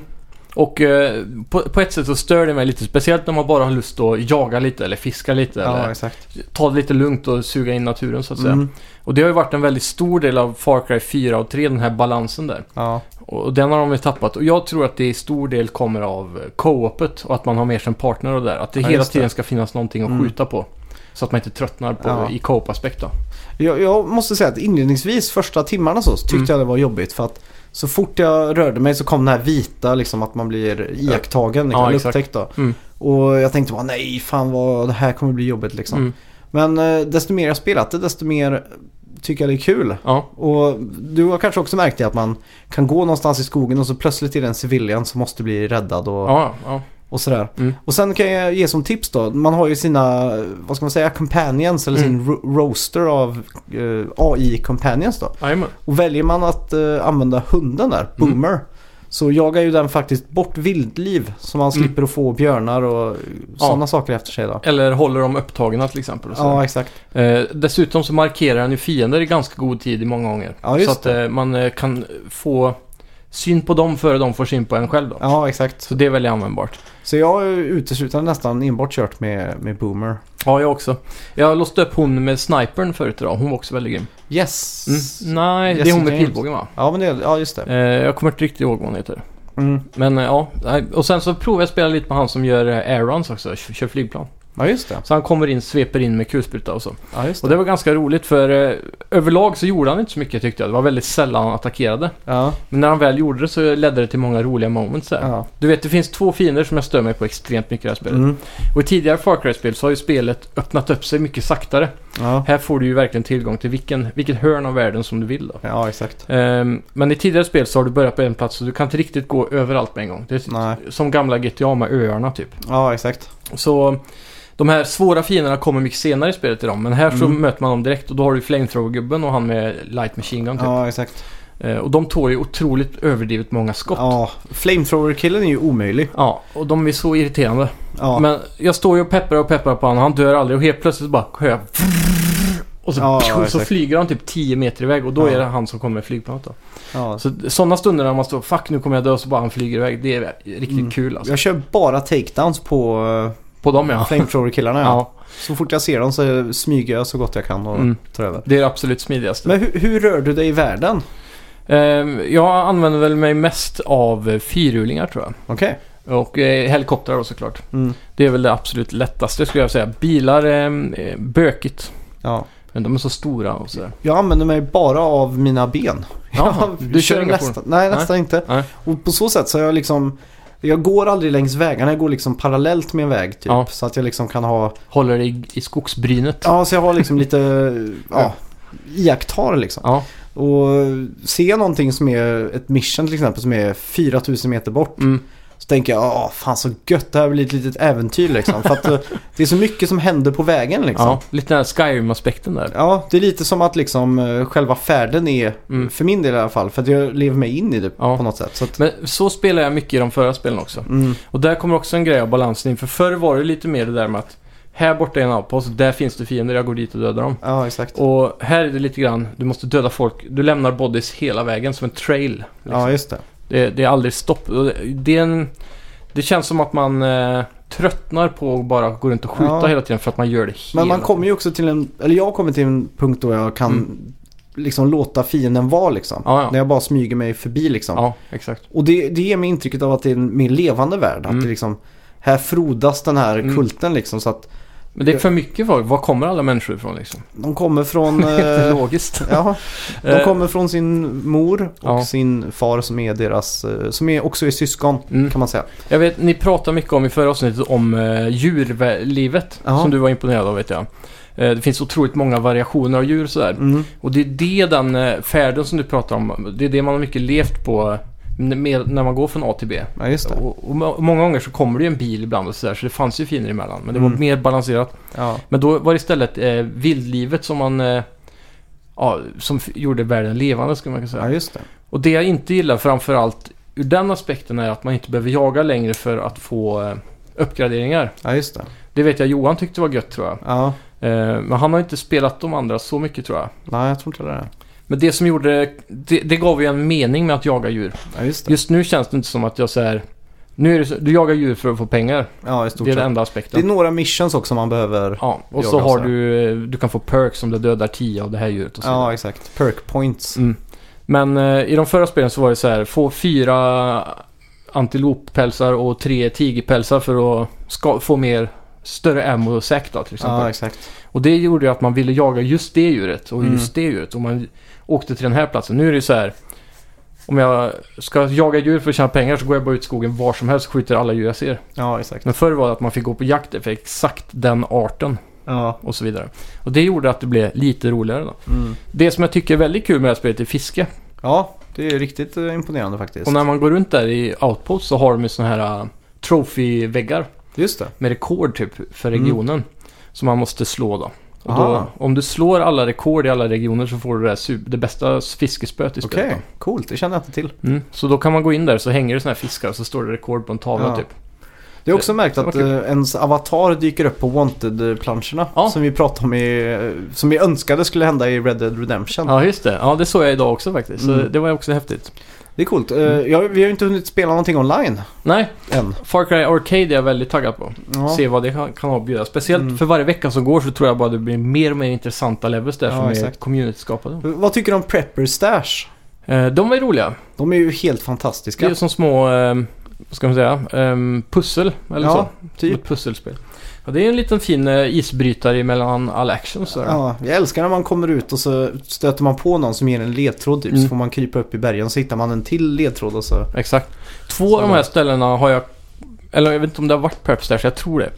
Speaker 2: Och eh, på, på ett sätt så stör det mig lite. Speciellt när man bara har lust att jaga lite eller fiska lite.
Speaker 1: Ja,
Speaker 2: eller
Speaker 1: exakt.
Speaker 2: ta det lite lugnt och suga in naturen så att säga.
Speaker 1: Mm.
Speaker 2: Och det har ju varit en väldigt stor del av Far Cry 4 och 3, den här balansen där.
Speaker 1: Ja.
Speaker 2: Och och den har de väl tappat. Och jag tror att det i stor del kommer av eh, co-opet och att man har mer som partner och det där. Att det
Speaker 1: Ja,
Speaker 2: hela
Speaker 1: just det.
Speaker 2: tiden ska finnas någonting att
Speaker 1: Mm.
Speaker 2: skjuta på. Så att man inte tröttnar på,
Speaker 1: Ja.
Speaker 2: i co-op-aspekt då.
Speaker 1: Jag, jag måste säga att inledningsvis, första timmarna så, så tyckte
Speaker 2: Mm.
Speaker 1: jag det var jobbigt för att så fort jag rörde mig så kom den här vita liksom att man blir iakttagen, liksom,
Speaker 2: Ja,
Speaker 1: eller
Speaker 2: exakt.
Speaker 1: upptäckt då.
Speaker 2: Mm.
Speaker 1: Och jag tänkte bara nej, fan vad det här kommer bli jobbigt liksom.
Speaker 2: Mm.
Speaker 1: Men eh, desto mer jag spelat det, desto mer tycker jag det är kul.
Speaker 2: Ja.
Speaker 1: Och du har kanske också märkt det att man kan gå någonstans i skogen och så plötsligt är det en civilian som måste bli räddad och,
Speaker 2: Ja, ja.
Speaker 1: och sådär.
Speaker 2: Mm.
Speaker 1: Och sen kan jag ge som tips då, man har ju sina, vad ska man säga, companions
Speaker 2: Mm.
Speaker 1: eller sin ro- roaster av eh, AI-companions då.
Speaker 2: Jajamän.
Speaker 1: Och väljer man att eh, använda hunden där, Boomer, så jagar ju den faktiskt bort vildliv så man
Speaker 2: Mm.
Speaker 1: slipper att få björnar och sådana saker efter sig då.
Speaker 2: Eller håller de upptagna till exempel. Och så.
Speaker 1: Ja, exakt.
Speaker 2: Eh, dessutom så markerar han ju fiender i ganska god tid i många gånger.
Speaker 1: Ja,
Speaker 2: så
Speaker 1: just
Speaker 2: att eh, man eh, kan få syn på dem före de får syn på en själv då.
Speaker 1: Ja, exakt.
Speaker 2: Så det är väldigt användbart.
Speaker 1: Så jag har ju uteslutande nästan enbart kört med, med Boomer.
Speaker 2: Ja, jag också. Jag låste upp hon med snipern förut idag. Hon var också väldigt grym.
Speaker 1: Yes.
Speaker 2: Mm. Nej, det är
Speaker 1: Jesse
Speaker 2: hon med
Speaker 1: James.
Speaker 2: pilbågen va?
Speaker 1: Ja, men det, ja, just det.
Speaker 2: Eh, jag kommer inte riktigt ihåg vad hon heter.
Speaker 1: Mm.
Speaker 2: Men eh, ja, nej. och sen så provade jag att spela lite med han som gör eh, airruns också, kö- kör flygplan.
Speaker 1: Ja, just det.
Speaker 2: Så han kommer in, sveper in med kulspruta och så.
Speaker 1: Ja, just
Speaker 2: Och
Speaker 1: det.
Speaker 2: det var ganska roligt för eh, överlag så gjorde han inte så mycket tyckte jag. Det var väldigt sällan han attackerade.
Speaker 1: Ja,
Speaker 2: Men när han väl gjorde det så ledde det till många roliga moments där.
Speaker 1: ja.
Speaker 2: Du vet, det finns två fiender som jag stör mig på extremt mycket i det här spelet.
Speaker 1: Mm.
Speaker 2: Och i tidigare Far Cry-spel så har ju spelet öppnat upp sig mycket saktare.
Speaker 1: ja.
Speaker 2: Här får du ju verkligen tillgång till vilken, vilket hörn av världen som du vill då.
Speaker 1: Ja, exakt.
Speaker 2: Ehm, men i tidigare spel så har du börjat på en plats så du kan inte riktigt gå överallt med en gång. Det är
Speaker 1: Nej.
Speaker 2: som gamla GTA med öarna typ.
Speaker 1: Ja, exakt.
Speaker 2: Så de här svåra fienderna kommer mycket senare i spelet till dem. Men här så
Speaker 1: Mm.
Speaker 2: möter man dem direkt och då har du flamethrower-gubben och han med light machine gun typ.
Speaker 1: Ja, exakt.
Speaker 2: Ehm, och de tål ju otroligt överdrivet många skott. Ja.
Speaker 1: Ja, flamethrower-killen är ju omöjlig.
Speaker 2: och de är så irriterande.
Speaker 1: Ja,
Speaker 2: Men jag står ju och pepprar och pepprar på honom. Han dör aldrig och helt plötsligt bara hör jag och så,
Speaker 1: Ja,
Speaker 2: och så
Speaker 1: exakt.
Speaker 2: flyger han typ 10 meter iväg och då
Speaker 1: Ja.
Speaker 2: är det han som kommer med flygplanet då.
Speaker 1: ja.
Speaker 2: Så sådana stunder när man står 'Fuck, nu kommer jag dö' och så bara han flyger iväg. Det är riktigt
Speaker 1: Mm.
Speaker 2: kul alltså.
Speaker 1: Jag kör bara takedowns på
Speaker 2: På dem ja.
Speaker 1: eh, flamethrower-killarna. ja.
Speaker 2: ja.
Speaker 1: Så fort jag ser dem så smyger jag så gott jag kan och
Speaker 2: Mm.
Speaker 1: tar över.
Speaker 2: Det är det absolut smidigaste.
Speaker 1: Men hur, hur rör du dig i världen?
Speaker 2: Ehm, jag använder väl mig mest av eh, fyrhjulingar tror jag.
Speaker 1: Okej.
Speaker 2: Och eh, helikoptrar då såklart.
Speaker 1: Mm.
Speaker 2: Det är väl det absolut lättaste skulle jag säga. Bilar, ehm, eh, bökigt.
Speaker 1: Ja.
Speaker 2: Men de är så stora och sådär.
Speaker 1: Jag använder mig bara av mina ben.
Speaker 2: Jaha,
Speaker 1: Jag
Speaker 2: du kör inga
Speaker 1: nästan, Nej, nästan inte.
Speaker 2: Nej.
Speaker 1: Och på så sätt så har jag liksom... Jag går aldrig längs vägarna, jag går liksom parallellt med en väg typ.
Speaker 2: Ja.
Speaker 1: Så att jag liksom kan ha...
Speaker 2: Håller i, i skogsbrynet.
Speaker 1: Ja, så jag har liksom lite... ja, iakttar liksom.
Speaker 2: Ja.
Speaker 1: Och ser jag någonting som är ett mission till exempel som är 4000 meter bort.
Speaker 2: Mm.
Speaker 1: Så tänker jag, åh fan så gött, det här blir ett litet äventyr liksom. För att eh, det är så mycket som händer på vägen liksom.
Speaker 2: ja. Lite den här Skyrim-aspekten där.
Speaker 1: Ja, det är lite som att liksom eh, själva färden är,
Speaker 2: Mm.
Speaker 1: för min del i alla fall, för att jag lever mig in i det
Speaker 2: Ja.
Speaker 1: på något sätt. Så att,
Speaker 2: Men så spelar jag mycket i de förra spelen också.
Speaker 1: mm,
Speaker 2: Och där kommer också en grej av balansen in. För förr var det lite mer det där med att här borta är en outpost, där finns det fiender, jag går dit och dödar dem.
Speaker 1: ja, exakt.
Speaker 2: Och här är det lite grann, du måste döda folk. Du lämnar bodies hela vägen som en trail. Liksom.
Speaker 1: Ja, just det.
Speaker 2: Det, det är aldrig stopp. Och det- Det, är en, det känns som att man eh, tröttnar på att bara gå runt och skjuta
Speaker 1: Ja.
Speaker 2: hela tiden för att man gör det hela
Speaker 1: Men man kommer ju också till en, eller jag kommer till en punkt då jag kan liksom låta fienden vara liksom.
Speaker 2: Mm. Ja, ja.
Speaker 1: När jag bara smyger mig förbi liksom.
Speaker 2: Ja, exakt.
Speaker 1: Och det, det ger mig intrycket av att det är en mer levande värld.
Speaker 2: Mm.
Speaker 1: Att det liksom, här frodas den här
Speaker 2: Mm.
Speaker 1: kulten liksom. Så att
Speaker 2: Men det är för mycket folk. Var kommer alla människor ifrån liksom?
Speaker 1: de kommer från...
Speaker 2: Det är inte
Speaker 1: eh,
Speaker 2: logiskt.
Speaker 1: ja,
Speaker 2: Eh.
Speaker 1: de kommer från sin mor och
Speaker 2: Ja.
Speaker 1: sin far som är deras, eh, som är också är syskon
Speaker 2: Mm.
Speaker 1: kan man säga.
Speaker 2: Jag vet, ni pratade mycket om i förra avsnittet om eh, djurlivet.
Speaker 1: Ja.
Speaker 2: Som du var imponerad av vet jag. Eh, det finns otroligt många variationer av djur sådär.
Speaker 1: Mm.
Speaker 2: Och det är det den eh, färden som du pratar om. Det är det man har mycket levt på eh, med, när man går från A till B.
Speaker 1: Ja, just det.
Speaker 2: Och, och må- många gånger så kommer det ju en bil ibland och sådär. Så det fanns ju finare emellan. Men det var
Speaker 1: Mm.
Speaker 2: mer balanserat.
Speaker 1: Ja,
Speaker 2: Men då var det istället eh, vildlivet som man... Eh, ja, som f- gjorde världen levande skulle man kunna säga.
Speaker 1: ja just det.
Speaker 2: Och det jag inte gillar framförallt ur den aspekten är att man inte behöver jaga längre för att få eh, uppgraderingar.
Speaker 1: Ja, just det.
Speaker 2: Det vet jag Johan tyckte var gött tror jag.
Speaker 1: Ja,
Speaker 2: Eh, Men han har inte spelat de andra så mycket tror jag.
Speaker 1: Nej, jag tror inte det är det.
Speaker 2: Men det som gjorde det, det gav ju en mening med att jaga djur.
Speaker 1: Ja, just det.
Speaker 2: Just nu känns det inte som att jag säger nu är det så, du jagar djur för att få pengar.
Speaker 1: Ja, i stort
Speaker 2: det är den
Speaker 1: sett.
Speaker 2: enda
Speaker 1: Det är
Speaker 2: aspekten.
Speaker 1: några missions också man behöver.
Speaker 2: ja, och så
Speaker 1: jagar
Speaker 2: har
Speaker 1: så.
Speaker 2: du, eh, du kan få perks om du dödar 10 av det här djuret och så vidare.
Speaker 1: Ja, exakt. Perk points.
Speaker 2: Mm. Men eh, i de förra spelen så var det så här, få fyra antiloppälsar och tre tigerpälsar för att ska, få mer större ammo och säck då till exempel.
Speaker 1: Ja, exakt.
Speaker 2: och det gjorde ju att man ville jaga just det djuret och
Speaker 1: Mm.
Speaker 2: just det djuret. Och man åkte till den här platsen. Nu är det ju så här, om jag ska jaga djur för att tjäna pengar så går jag bara ut i skogen var som helst och skjuter alla djur jag ser.
Speaker 1: Ja, exakt.
Speaker 2: Men förr var det att man fick gå på jakt efter exakt den arten
Speaker 1: Ja.
Speaker 2: och så vidare. Och det gjorde att det blev lite roligare då.
Speaker 1: Mm.
Speaker 2: Det som jag tycker är väldigt kul med det här spelet är fiske.
Speaker 1: Ja, det är riktigt eh, imponerande faktiskt.
Speaker 2: Och när man går runt där i Outpost så har de ju såna här äh, troféväggar
Speaker 1: Just det.
Speaker 2: med rekord typ för
Speaker 1: Mm.
Speaker 2: regionen. Som man måste slå då. Och då
Speaker 1: Aha.
Speaker 2: om du slår alla rekord i alla regioner så får du det, här, sup- det bästa fiskespöet i spelet.
Speaker 1: Okej, coolt. Det kände jag inte till.
Speaker 2: då. Mm. Så då kan man gå in där så hänger det såna här fiskar och så står det rekord på en tavla
Speaker 1: Ja.
Speaker 2: typ.
Speaker 1: Det är också märkt
Speaker 2: det var
Speaker 1: att eh, ens avatar dyker upp på Wanted-planscherna.
Speaker 2: Ja.
Speaker 1: Som vi pratade om i, eh, som vi önskade skulle hända i Red Dead Redemption.
Speaker 2: Ja just det, ja det såg jag idag också faktiskt. Så
Speaker 1: Mm.
Speaker 2: det var också häftigt.
Speaker 1: Det är coolt. Eh,
Speaker 2: Mm.
Speaker 1: Jag, vi har ju inte hunnit spela någonting online
Speaker 2: Nej,
Speaker 1: än.
Speaker 2: Far Cry Arcade är jag väldigt taggad på.
Speaker 1: Ja.
Speaker 2: Se vad det kan, kan ha att bjuda. Speciellt
Speaker 1: Mm.
Speaker 2: för varje vecka som går så tror jag bara det blir mer och mer intressanta levels där
Speaker 1: Ja,
Speaker 2: som är
Speaker 1: exakt.
Speaker 2: community-skapade.
Speaker 1: Vad tycker du om Prepper Stash?
Speaker 2: Eh, de var ju roliga.
Speaker 1: De är ju helt
Speaker 2: Det är
Speaker 1: fantastiska.
Speaker 2: ju som små, eh, vad ska man säga, eh, pussel eller
Speaker 1: Ja,
Speaker 2: så.
Speaker 1: typ.
Speaker 2: Ett pusselspel. Ja, det är en liten fin eh, isbrytare mellan all action så ja.
Speaker 1: Ja, jag älskar när man kommer ut och så stöter man på någon som ger en ledtråd typ.
Speaker 2: Mm.
Speaker 1: Så får man krypa upp i bergen och så hittar man en till ledtråd och så.
Speaker 2: Exakt. Två av de här ställena har jag, eller jag vet inte om det har varit Preps där, så jag tror det.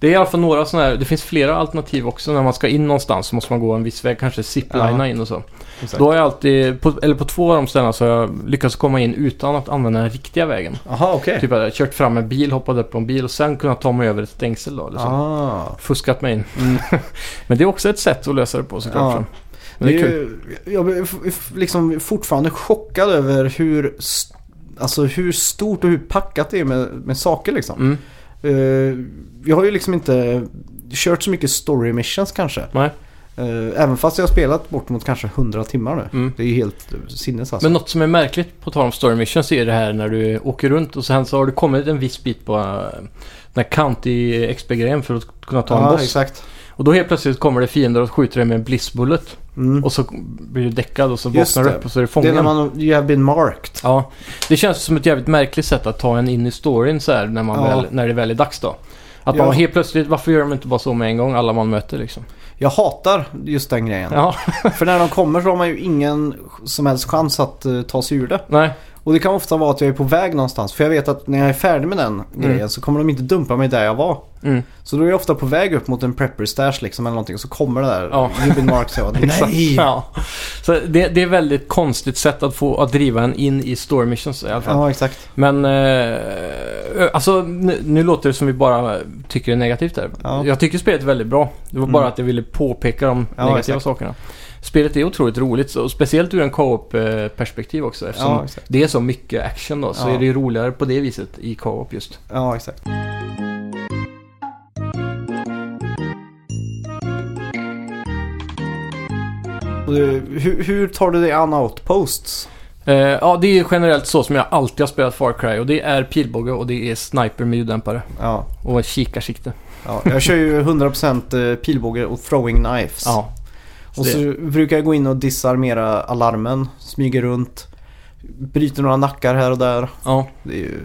Speaker 2: Det är i alla fall några sådana här, det finns flera alternativ också när man ska in någonstans så måste man gå en viss väg, kanske ziplina
Speaker 1: Ja.
Speaker 2: in och så.
Speaker 1: Exakt.
Speaker 2: Då har jag alltid, på, eller på två av de ställena så har jag lyckats komma in utan att använda den riktiga vägen.
Speaker 1: Aha, okej.
Speaker 2: Typ att jag har kört fram en bil, hoppat upp på en bil och sen kunnat ta mig över ett stängsel då. Eller så.
Speaker 1: ah.
Speaker 2: fuskat mig in. Men det är också ett sätt att lösa det på såklart.
Speaker 1: Ja.
Speaker 2: Men det är kul.
Speaker 1: ju, jag är f- f- liksom fortfarande chockad över hur, st- alltså hur stort och hur packat det är med, med saker liksom.
Speaker 2: Mm.
Speaker 1: Eh, jag har ju liksom inte kört så mycket story missions kanske.
Speaker 2: Nej.
Speaker 1: Eh, även fast jag har spelat bort mot kanske 100 timmar nu.
Speaker 2: Mm.
Speaker 1: Det är ju helt eh, sinnes alltså.
Speaker 2: Men något som är märkligt på tal om story missions är det här när du åker runt och sen så har du kommit en viss bit på eh, den här county XP-grejen för att kunna ta en
Speaker 1: ja,
Speaker 2: boss.
Speaker 1: exakt.
Speaker 2: Och då helt plötsligt kommer det fiender och skjuter dig med en blissbullet.
Speaker 1: Mm.
Speaker 2: Och så blir du däckad och så
Speaker 1: Just
Speaker 2: vaknar du
Speaker 1: det.
Speaker 2: upp och så är du
Speaker 1: Det är
Speaker 2: fången.
Speaker 1: när man, you have been marked.
Speaker 2: Ja, det känns som ett jävligt märkligt sätt att ta en in i storyn så här när, man
Speaker 1: Ja.
Speaker 2: väl, när det väl är dags då. Att
Speaker 1: Ja.
Speaker 2: man helt plötsligt, varför gör de inte bara så med en gång alla man möter liksom?
Speaker 1: Jag hatar just den grejen.
Speaker 2: Ja,
Speaker 1: För när de kommer så har man ju ingen som helst chans att eh, ta sig ur det.
Speaker 2: nej.
Speaker 1: Och det kan ofta vara att jag är på väg någonstans. För jag vet att när jag är färdig med den grejen så kommer de inte dumpa mig där jag var.
Speaker 2: Mm.
Speaker 1: Så då är jag ofta på väg upp mot en prepper stash liksom eller någonting. Och så kommer det där.
Speaker 2: Ja.
Speaker 1: You've been marked. Så jag, bara, nej!
Speaker 2: Ja. Så det, det är ett väldigt konstigt sätt att få att driva en in i story missions i alla fall.
Speaker 1: Ja, exakt.
Speaker 2: Men eh, alltså nu, nu låter det som vi bara tycker är negativt där.
Speaker 1: Ja.
Speaker 2: Jag tycker spelet är väldigt bra. Det var
Speaker 1: Mm.
Speaker 2: bara att jag ville påpeka de
Speaker 1: Ja,
Speaker 2: negativa
Speaker 1: exakt.
Speaker 2: sakerna. Spelet är otroligt roligt, så, och speciellt ur en co-op eh, perspektiv också. Eftersom
Speaker 1: Ja, exakt.
Speaker 2: det är så mycket action då, så
Speaker 1: Ja.
Speaker 2: är det ju roligare på det viset i co-op just.
Speaker 1: Ja, exakt. Och det- Hur, hur tar du dig an outposts?
Speaker 2: Eh, ja, det är ju generellt så som jag alltid har spelat Far Cry och det är pilbåge och det är sniper med ljuddämpare
Speaker 1: Ja,
Speaker 2: och kikarsikte.
Speaker 1: ja, jag kör ju 100% pilbåge och throwing knives.
Speaker 2: Ja.
Speaker 1: Och så brukar jag gå in och disarmera alarmen, smyger runt, bryter några nackar här och där.
Speaker 2: Ja.
Speaker 1: Det är ju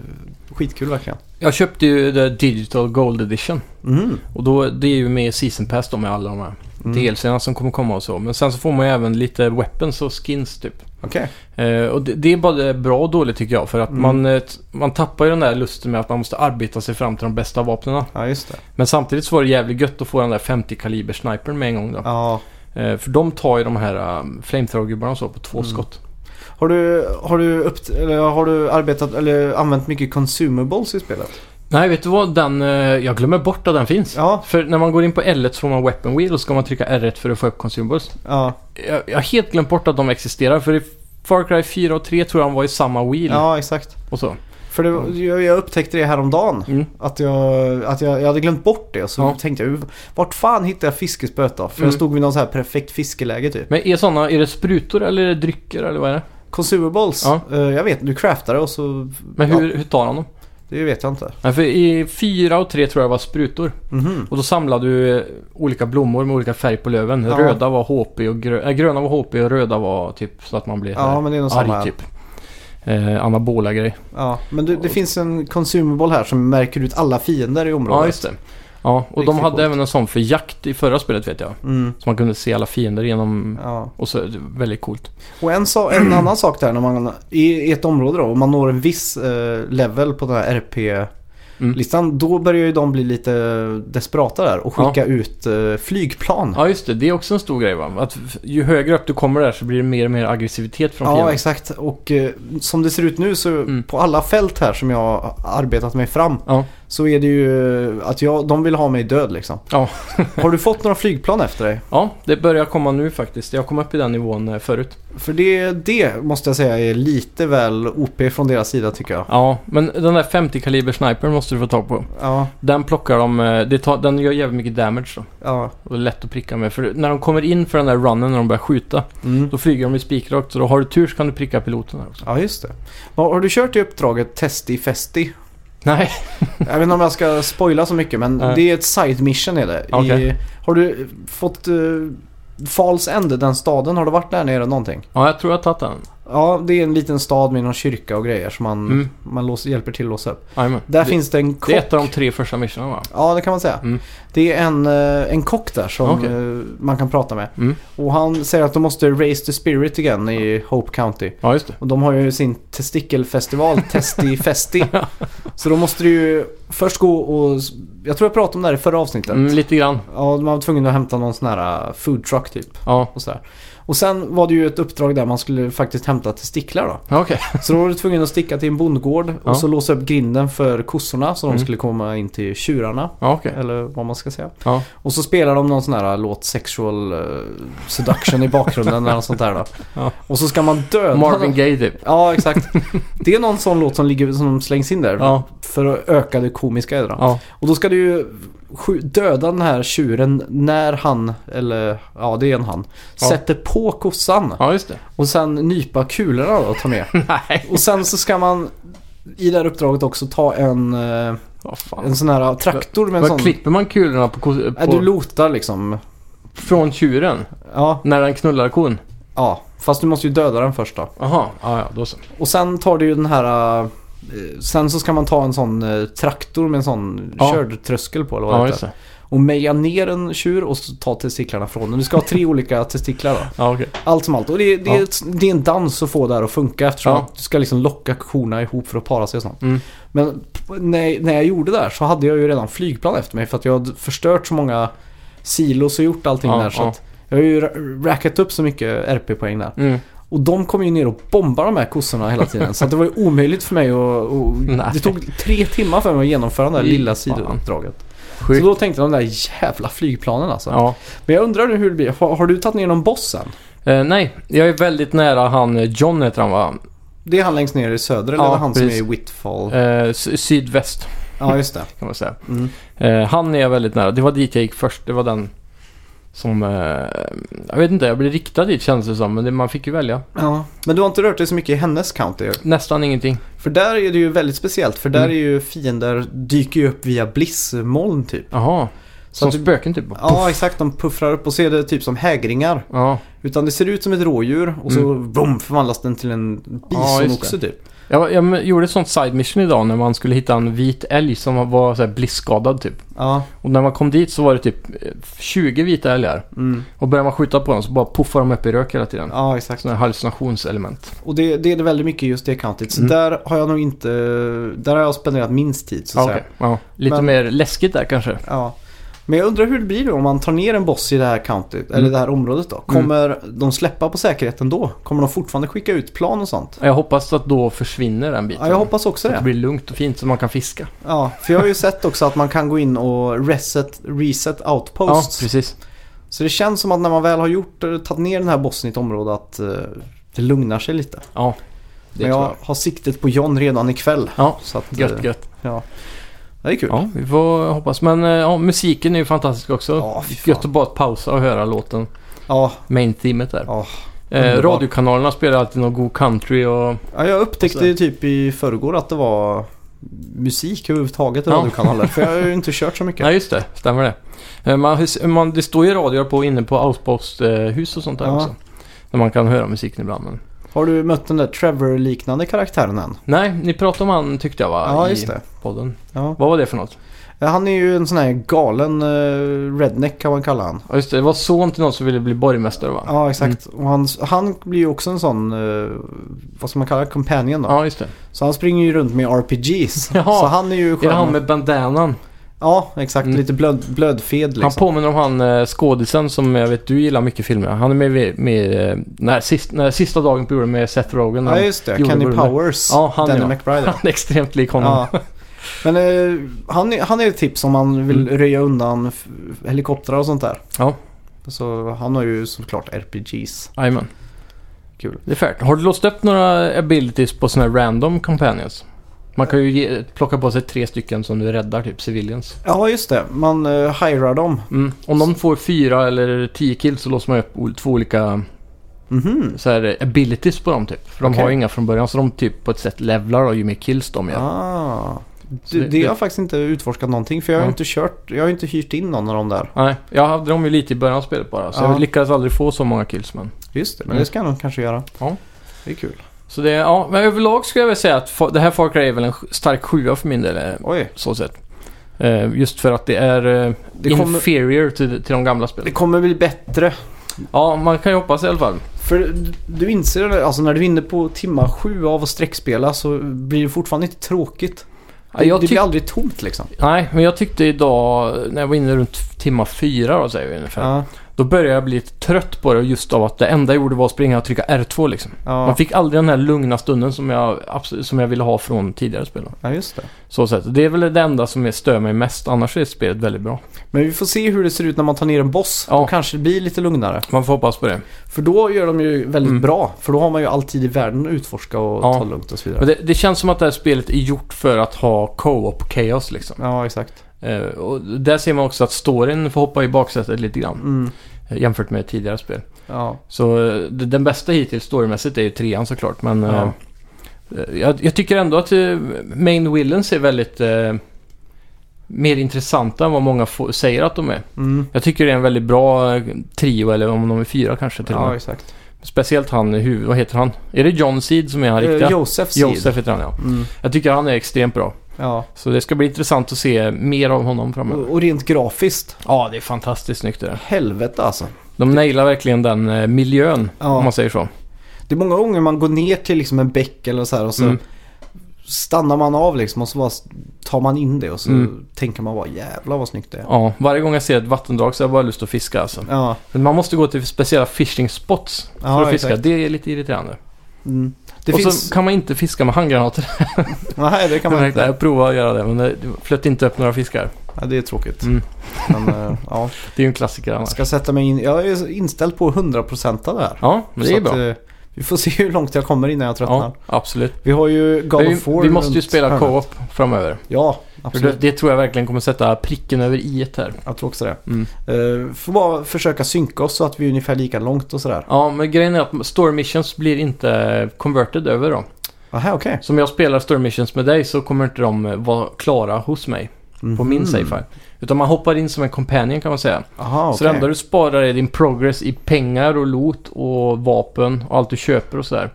Speaker 1: skitkul verkligen.
Speaker 2: Jag köpte ju The Digital Gold Edition.
Speaker 1: Mm.
Speaker 2: Och då, det är ju med Season Pass då med alla de här
Speaker 1: Mm.
Speaker 2: DLCerna som kommer komma och så. Men sen så får man ju även lite weapons och skins typ.
Speaker 1: Okej.
Speaker 2: Eh, och det, det är både bra och dåligt tycker jag. För att
Speaker 1: Mm.
Speaker 2: man, eh, t- man tappar ju den där lusten med att man måste arbeta sig fram till de bästa vapnena.
Speaker 1: Ja, just det.
Speaker 2: Men samtidigt så var det jävligt gött att få den där 50 kaliber snipern med en gång då.
Speaker 1: Ja.
Speaker 2: Eh, för de tar ju de här um, flamethrower-gubbarna och så på två
Speaker 1: Mm.
Speaker 2: skott.
Speaker 1: Har du, har, du upp, eller har du arbetat eller använt mycket consumables i spelet?
Speaker 2: Nej, vet du vad? Den, eh, jag glömmer bort att den finns.
Speaker 1: Ja.
Speaker 2: För när man går in på L1 så får man weapon wheel och så ska man trycka R1 för att få upp consumables.
Speaker 1: Ja,
Speaker 2: jag, jag har helt glömt bort att de existerar för i Far Cry 4 och 3 tror jag de var i samma wheel
Speaker 1: ja exakt.
Speaker 2: och så.
Speaker 1: För det, var- jag, jag upptäckte det häromdagen.
Speaker 2: Mm.
Speaker 1: Att, jag, att jag, jag hade glömt bort det. Så
Speaker 2: Ja.
Speaker 1: tänkte jag, vart fan hittade jag fiskespöet då? För jag
Speaker 2: Mm.
Speaker 1: stod vid någon så här perfekt fiskeläge typ.
Speaker 2: Men är sådana, är det sprutor eller är det drycker eller vad är det?
Speaker 1: Consumables.
Speaker 2: Ja.
Speaker 1: Eh, jag vet, du craftar det och så...
Speaker 2: Men
Speaker 1: ja,
Speaker 2: hur, hur tar han dem?
Speaker 1: det vet jag inte.
Speaker 2: Nej, för i fyra och tre tror jag var sprutor.
Speaker 1: Mhm.
Speaker 2: Och då samlade du eh, olika blommor med olika färg på löven.
Speaker 1: Ja.
Speaker 2: Röda var HP och grö- äh, gröna var HP och röda var typ så att man blev
Speaker 1: Ja,
Speaker 2: ja,
Speaker 1: men det är nog
Speaker 2: arg
Speaker 1: samma.
Speaker 2: typ. Eh, anabola grej.
Speaker 1: Ja, men det, det finns en consumable här som märker ut alla fiender i området.
Speaker 2: Ja, just det. Ja, och de
Speaker 1: Riktigt
Speaker 2: hade
Speaker 1: coolt.
Speaker 2: även en sån för jakt i förra spelet vet jag.
Speaker 1: Mm.
Speaker 2: Så man kunde se alla fiender genom...
Speaker 1: Ja.
Speaker 2: Och så, det var väldigt coolt.
Speaker 1: Och en, sa, en annan sak där när man i i ett område då, om man når en viss eh, level på den här
Speaker 2: Mm.
Speaker 1: RP-listan, då börjar ju de bli lite desperata där och skicka ut eh, flygplan.
Speaker 2: Ja, just det. Det är också en stor grej va? Att f- ju högre upp du kommer där så blir det mer och mer aggressivitet från
Speaker 1: Ja,
Speaker 2: fienden.
Speaker 1: exakt. Och eh, som det ser ut nu så
Speaker 2: Mm.
Speaker 1: på alla fält här som jag har arbetat mig fram
Speaker 2: Ja.
Speaker 1: så är det ju eh, att jag, de vill ha mig död liksom.
Speaker 2: Ja.
Speaker 1: har du fått några flygplan efter dig?
Speaker 2: ja, det börjar komma nu faktiskt. Jag kom upp i den nivån eh, förut.
Speaker 1: För det, det måste jag säga är lite väl OP från deras sida tycker jag.
Speaker 2: Ja, men den där 50-kaliber snipern måste du få tag på.
Speaker 1: Ja,
Speaker 2: Den plockar de... eh, Det tar, den gör jävligt mycket damage då.
Speaker 1: ja.
Speaker 2: Och det är lätt att pricka med. För när de kommer in för den där runnen när de börjar skjuta,
Speaker 1: Mm.
Speaker 2: då flyger de i spikrakt. Så då har du tur så kan du pricka piloten här också.
Speaker 1: Ja, just det. Har har du kört i uppdraget Testi Festi?
Speaker 2: Nej,
Speaker 1: Jag vet inte om jag ska spoila så mycket men
Speaker 2: Nej.
Speaker 1: det är ett side mission är det. I,
Speaker 2: Okej.
Speaker 1: har du fått uh, Falls End, den staden, har du varit där nere någonting?
Speaker 2: ja jag tror jag har tagit den.
Speaker 1: Ja, det är en liten stad med någon kyrka och grejer som man,
Speaker 2: Mm.
Speaker 1: man lås, hjälper till att låsa upp.
Speaker 2: Jajamän.
Speaker 1: Där
Speaker 2: det,
Speaker 1: finns det en kock.
Speaker 2: det är ett av de tre första missionerna va?
Speaker 1: Ja, det kan man säga.
Speaker 2: Mm.
Speaker 1: Det är en, eh, en kock där som
Speaker 2: Okej.
Speaker 1: eh, man kan prata med.
Speaker 2: Mm.
Speaker 1: Och han säger att de måste raise the spirit igen i Hope County.
Speaker 2: Ja, just det.
Speaker 1: Och de har ju sin testikelfestival, Testi Festi. Så då måste du ju först gå och... Jag tror jag pratade om det här i förra avsnittet.
Speaker 2: Mm, lite grann.
Speaker 1: Ja, man var tvungen att hämta någon sån här uh, food truck typ.
Speaker 2: Ja,
Speaker 1: Och, sådär. och sen var det ju ett uppdrag där man skulle faktiskt hämta testiklar då.
Speaker 2: okej.
Speaker 1: Så då var du tvungen att sticka till en bondgård
Speaker 2: Ja.
Speaker 1: och så låsa upp grinden för kossorna så de
Speaker 2: Mm.
Speaker 1: skulle komma in till tjurarna.
Speaker 2: Ja, okej.
Speaker 1: Eller vad man ska säga.
Speaker 2: Ja.
Speaker 1: Och så spelar de någon sån här äh, låt Sexual eh, Seduction i bakgrunden eller något sånt där då.
Speaker 2: Ja.
Speaker 1: Och så ska man döda
Speaker 2: Marvin Gaye typ.
Speaker 1: Ja, exakt. Det är någon sån låt som, ligger, som slängs in där.
Speaker 2: Ja,
Speaker 1: För att öka det komiska i det. då.
Speaker 2: ja.
Speaker 1: Och då ska du ju skj- döda den här tjuren när han, eller ja det är en han,
Speaker 2: Ja.
Speaker 1: sätter på kossan.
Speaker 2: ja just det.
Speaker 1: Och sen nypa kulorna då och ta med.
Speaker 2: Nej,
Speaker 1: Och sen så ska man i det här uppdraget också ta en, eh,
Speaker 2: vad fan.
Speaker 1: en sån här traktor med en sån...
Speaker 2: Vad klipper man kulorna på, ko-
Speaker 1: Nej, Äh, du
Speaker 2: på
Speaker 1: lotar liksom.
Speaker 2: från tjuren?
Speaker 1: Ja,
Speaker 2: När den knullar kon?
Speaker 1: ja. Fast du måste ju döda den först då.
Speaker 2: Jaha, ja, ja, då så.
Speaker 1: Och sen tar du ju den här... eh, Sen så ska man ta en sån eh, traktor med en sån
Speaker 2: Ja.
Speaker 1: kördtröskel på eller vad
Speaker 2: Ja,
Speaker 1: det
Speaker 2: just
Speaker 1: heter.
Speaker 2: det.
Speaker 1: Och meja ner en tjur och så ta testiklarna från den. Du ska ha tre olika testiklar då.
Speaker 2: Ja, okej.
Speaker 1: Allt som allt. Och det, det, är,
Speaker 2: Ja.
Speaker 1: ett, det är en dans att få det här att funka eftersom
Speaker 2: Ja.
Speaker 1: att du ska liksom locka korna ihop för att para sig och sånt.
Speaker 2: Mm.
Speaker 1: Men p- när, när jag gjorde det här så hade jag ju redan flygplan efter mig för att jag hade förstört så många silos och gjort allting
Speaker 2: Ja,
Speaker 1: där. Så
Speaker 2: ja.
Speaker 1: att jag har ju ra- rackat upp så mycket RP-poäng där.
Speaker 2: Mm.
Speaker 1: Och de kom ju ner och bombade de här kossorna hela tiden. så att det var ju omöjligt för mig att... Och,
Speaker 2: Nej.
Speaker 1: det tog tre timmar för mig att genomföra det här
Speaker 2: Fy
Speaker 1: lilla
Speaker 2: fan.
Speaker 1: sidouppdraget. Så
Speaker 2: Sjukt.
Speaker 1: då tänkte jag de där jävla flygplanen alltså.
Speaker 2: Ja.
Speaker 1: Men jag undrar nu hur det blir. Har, har du tagit ner någon boss än?
Speaker 2: Eh, nej, jag är väldigt nära han eh, John heter han va?
Speaker 1: Det är han längst ner i söder
Speaker 2: Ja,
Speaker 1: eller han
Speaker 2: precis.
Speaker 1: som är i Whitfall?
Speaker 2: Eh, s- sydväst
Speaker 1: Ja, just det.
Speaker 2: kan man säga.
Speaker 1: Mm.
Speaker 2: Eh, han är jag väldigt nära. Det var dit jag gick först. Det var den som... Eh, jag vet inte, jag blev riktad dit kändes det som. Men det, man fick ju välja.
Speaker 1: Ja. Men du har inte rört dig så mycket i hennes county?
Speaker 2: Nästan ingenting.
Speaker 1: För där är det ju väldigt speciellt. För där
Speaker 2: Mm.
Speaker 1: är ju fiender dyker ju upp via blissmoln typ.
Speaker 2: Jaha.
Speaker 1: Så
Speaker 2: Som
Speaker 1: att du,
Speaker 2: spöken typ.
Speaker 1: ja, exakt. De puffrar upp och ser det typ som hägringar.
Speaker 2: Ja.
Speaker 1: Utan det ser ut som ett rådjur och så vroom, förvandlas den till en
Speaker 2: Mm. Ja,
Speaker 1: bison
Speaker 2: just
Speaker 1: också typ.
Speaker 2: Jag, jag gjorde ett sånt side mission idag när man skulle hitta en vit älg som var så här blisskadad typ.
Speaker 1: Ja,
Speaker 2: Och när man kom dit så var det typ eh, 20 vita älgar.
Speaker 1: mm.
Speaker 2: Och började man skjuta på dem så bara puffar de upp i rök hela tiden.
Speaker 1: ja exakt.
Speaker 2: Sådana här hallucinationselement.
Speaker 1: Och det, det är det väldigt mycket just det countyt. Så
Speaker 2: Mm.
Speaker 1: där har jag nog inte... Där har jag spenderat minst tid så att
Speaker 2: Ja,
Speaker 1: säga.
Speaker 2: okej. ja, lite
Speaker 1: Men-
Speaker 2: mer läskigt där kanske.
Speaker 1: Ja. Men jag undrar hur det blir då om man tar ner en boss i det här countyt, eller
Speaker 2: Mm.
Speaker 1: det här området då. Kommer de släppa på säkerheten då? Kommer de fortfarande skicka ut plan och sånt?
Speaker 2: Jag hoppas att då försvinner den biten.
Speaker 1: Ja, jag hoppas också
Speaker 2: Att det
Speaker 1: det.
Speaker 2: blir lugnt och fint så man kan fiska.
Speaker 1: Ja, för jag har ju sett också att man kan gå in och reset, reset outposts.
Speaker 2: Ja, precis.
Speaker 1: så det känns som att när man väl har gjort, eh, tagit ner den här bossen i ett område att eh, det lugnar sig lite.
Speaker 2: Ja.
Speaker 1: Men jag har siktet på John redan ikväll.
Speaker 2: Ja,
Speaker 1: så att, eh,
Speaker 2: Gött, gött.
Speaker 1: Ja. Det är kul.
Speaker 2: Ja, vi får hoppas. Men eh, ja, musiken är ju fantastisk också.
Speaker 1: Ja, fy fan.
Speaker 2: gött att bara pausa och höra låten.
Speaker 1: Ja,
Speaker 2: Main themet där.
Speaker 1: ja.
Speaker 2: eh,
Speaker 1: underbart.
Speaker 2: radiokanalerna spelar alltid någon god country och...
Speaker 1: ja jag upptäckte
Speaker 2: Och
Speaker 1: ju typ i förrgår att det var musik överhuvudtaget i
Speaker 2: Ja.
Speaker 1: radiokanaler. För jag har ju inte kört så mycket.
Speaker 2: Nej, just det. Stämmer det. Eh, Man, man, det står ju radior på inne på Outpost-hus och sånt där
Speaker 1: Ja.
Speaker 2: också. Där man kan höra musiken ibland. Men...
Speaker 1: Har du mött den där Trevor-liknande karaktären än?
Speaker 2: Nej, ni pratade om han tyckte jag var
Speaker 1: Ja,
Speaker 2: i
Speaker 1: just det.
Speaker 2: podden.
Speaker 1: Ja.
Speaker 2: Vad var det för något?
Speaker 1: Han är ju en sån här galen eh, redneck kan man kalla han.
Speaker 2: Ja, just det. Det var son till någon som ville bli borgmästare va?
Speaker 1: Ja, exakt.
Speaker 2: Mm.
Speaker 1: Och han, han blir ju också en sån, eh, vad ska man kalla det, companion då.
Speaker 2: Ja, just det.
Speaker 1: Så han springer ju runt med RPGs.
Speaker 2: Jaha.
Speaker 1: Så han är ju
Speaker 2: Är det han
Speaker 1: skön.
Speaker 2: med bandanan?
Speaker 1: Ja, exakt.
Speaker 2: Mm.
Speaker 1: Lite blöd, blödfed liksom.
Speaker 2: Han påminner om han eh, skådisen som jag vet du gillar mycket filmer. Han är med, med, med eh, när, sist, när, sista dagen på jorden med Seth Rogen.
Speaker 1: Ja,
Speaker 2: Han,
Speaker 1: just det.
Speaker 2: Jo, det
Speaker 1: Kenny
Speaker 2: borde-
Speaker 1: Powers.
Speaker 2: Ja, han,
Speaker 1: Danny
Speaker 2: ja.
Speaker 1: McBride.
Speaker 2: han är extremt lik honom.
Speaker 1: Ja. Men eh, han, är, han är ett tips om man vill röja undan f- helikoptrar och sånt där.
Speaker 2: Mm. Ja.
Speaker 1: Så han har ju såklart RPGs.
Speaker 2: Jajamän.
Speaker 1: Kul.
Speaker 2: Det är färdigt. Har du låst upp några abilities på sådana här random companions? Man kan ju ge, plocka på sig tre stycken som du räddar, typ civilians.
Speaker 1: Ja, just det. Man uh, hirar dem.
Speaker 2: Mm. Om de får fyra eller tio kills så låser man upp ol- två olika
Speaker 1: Mhm.
Speaker 2: så här, abilities på dem typ. För de
Speaker 1: Okej.
Speaker 2: har ju inga från början så de typ på ett sätt levlar och ju mer kills de gör.
Speaker 1: Ah.
Speaker 2: Så
Speaker 1: Det,
Speaker 2: det-
Speaker 1: det har jag faktiskt inte utforskat någonting för jag har
Speaker 2: Ja.
Speaker 1: inte kört, jag har inte hyrt in någon av dem där.
Speaker 2: Nej, jag hade dem ju lite i början av spelet bara. Så
Speaker 1: Ja.
Speaker 2: jag lyckades aldrig få så många kills men.
Speaker 1: Just det, men
Speaker 2: Mm.
Speaker 1: det ska jag nog kanske göra.
Speaker 2: Ja.
Speaker 1: Det är kul.
Speaker 2: Så det, ja, men överlag skulle jag väl säga att fa- det här Far Cry är väl en sj- stark sjua för min del. eh,
Speaker 1: Oj,
Speaker 2: Så sett. Eh, just för att det är eh,
Speaker 1: det kommer,
Speaker 2: inferior till, till de gamla
Speaker 1: det
Speaker 2: spelen.
Speaker 1: kommer bli bättre.
Speaker 2: Ja, man kan ju hoppas i alla fall.
Speaker 1: För du inser, alltså när du är inne på timma sju av att sträckspela så blir det fortfarande inte tråkigt.
Speaker 2: Ja, jag
Speaker 1: det
Speaker 2: tyck-
Speaker 1: blir aldrig tomt liksom.
Speaker 2: Nej, men jag tyckte idag när jag var inne runt timma fyra då säger vi ungefär.
Speaker 1: Ja,
Speaker 2: Då började jag bli lite trött på det just av att det enda jag gjorde var att springa och trycka R2 liksom. Man
Speaker 1: ja.
Speaker 2: fick aldrig den här lugna stunden som jag, absolut, som jag ville ha från tidigare spel. då.
Speaker 1: ja just det.
Speaker 2: Så sett. Det är väl det enda som stör mig mest. Annars är spelet väldigt bra.
Speaker 1: Men vi får se hur det ser ut när man tar ner en boss.
Speaker 2: Ja.
Speaker 1: Då kanske det blir lite lugnare.
Speaker 2: Man får hoppas på det.
Speaker 1: För då gör de ju väldigt
Speaker 2: Mm.
Speaker 1: bra. För då har man ju all tid i världen att utforska och
Speaker 2: Ja.
Speaker 1: ta lugnt och så vidare.
Speaker 2: Men det, det känns som att det här spelet är gjort för att ha co-op chaos liksom.
Speaker 1: Ja, exakt.
Speaker 2: Eh, och där ser man också att storyn får hoppa i baksätet lite grann
Speaker 1: Mm.
Speaker 2: eh, jämfört med tidigare spel.
Speaker 1: Ja.
Speaker 2: Så eh, d- den bästa hittills storymässigt är ju trean såklart. Men
Speaker 1: Ja.
Speaker 2: eh, jag, jag tycker ändå att eh, main villains är väldigt eh, mer intressanta än vad många få- säger att de är.
Speaker 1: Mm.
Speaker 2: Jag tycker det är en väldigt bra eh, trio, eller om de är fyra kanske till och
Speaker 1: Ja,
Speaker 2: med.
Speaker 1: exakt. Till
Speaker 2: Speciellt han, i huvud, vad heter han? Är det Eh, John Seed som är han riktiga?
Speaker 1: Josef Seed.
Speaker 2: Josef heter han ja.
Speaker 1: Eh, Mm.
Speaker 2: Jag tycker han är extremt bra.
Speaker 1: Ja.
Speaker 2: Så det ska bli intressant att se mer av honom framöver.
Speaker 1: Och och rent grafiskt.
Speaker 2: Ja, det är fantastiskt snyggt det där.
Speaker 1: Helvete alltså.
Speaker 2: De nailar verkligen den eh, miljön,
Speaker 1: Ja.
Speaker 2: om man säger så.
Speaker 1: Det är många gånger man går ner till liksom en bäck eller så här och så
Speaker 2: Mm.
Speaker 1: stannar man av liksom och så bara tar man in det och så
Speaker 2: Mm.
Speaker 1: tänker man bara jävlar vad snyggt det är.
Speaker 2: Ja, varje gång jag ser ett vattendrag så har jag bara lust att fiska alltså.
Speaker 1: Ja.
Speaker 2: Men man måste gå till speciella fishing spots för
Speaker 1: Ja,
Speaker 2: att fiska.
Speaker 1: exakt.
Speaker 2: Det är lite irriterande.
Speaker 1: Mm. Det
Speaker 2: och
Speaker 1: finns...
Speaker 2: så kan man inte fiska med handgranater.
Speaker 1: Nej, det kan man
Speaker 2: Jag
Speaker 1: inte.
Speaker 2: jag provade att göra det, men det det flöt inte upp några fiskar.
Speaker 1: Ja, det är tråkigt.
Speaker 2: Mm.
Speaker 1: Men eh, ja,
Speaker 2: Det är ju en klassiker
Speaker 1: jag
Speaker 2: annars.
Speaker 1: ska sätta mig in. Jag är inställd på 100% det här.
Speaker 2: Ja, men
Speaker 1: Så
Speaker 2: det är
Speaker 1: att,
Speaker 2: bra.
Speaker 1: eh, Vi får se hur långt jag kommer innan jag tröttnar.
Speaker 2: Ja, absolut.
Speaker 1: Vi har ju God
Speaker 2: Vi,
Speaker 1: of War
Speaker 2: vi måste ju
Speaker 1: runt
Speaker 2: spela
Speaker 1: hörnet.
Speaker 2: co-op framöver.
Speaker 1: Ja,
Speaker 2: För det,
Speaker 1: absolut.
Speaker 2: det tror jag verkligen kommer sätta pricken över i här.
Speaker 1: Jag tror också det.
Speaker 2: Mm.
Speaker 1: Eh, får bara försöka synka oss så att vi är ungefär lika långt och sådär.
Speaker 2: Ja, men grejen är att story missions blir inte converted över då.
Speaker 1: Aha, okej.
Speaker 2: Som jag spelar story missions med dig så kommer inte de eh, vara klara hos mig på min
Speaker 1: Mhm.
Speaker 2: save file. Utan man hoppar in som en companion kan man säga.
Speaker 1: Aha,
Speaker 2: Så
Speaker 1: okej.
Speaker 2: det enda du sparar är din progress i pengar och loot och vapen och allt du köper och sådär.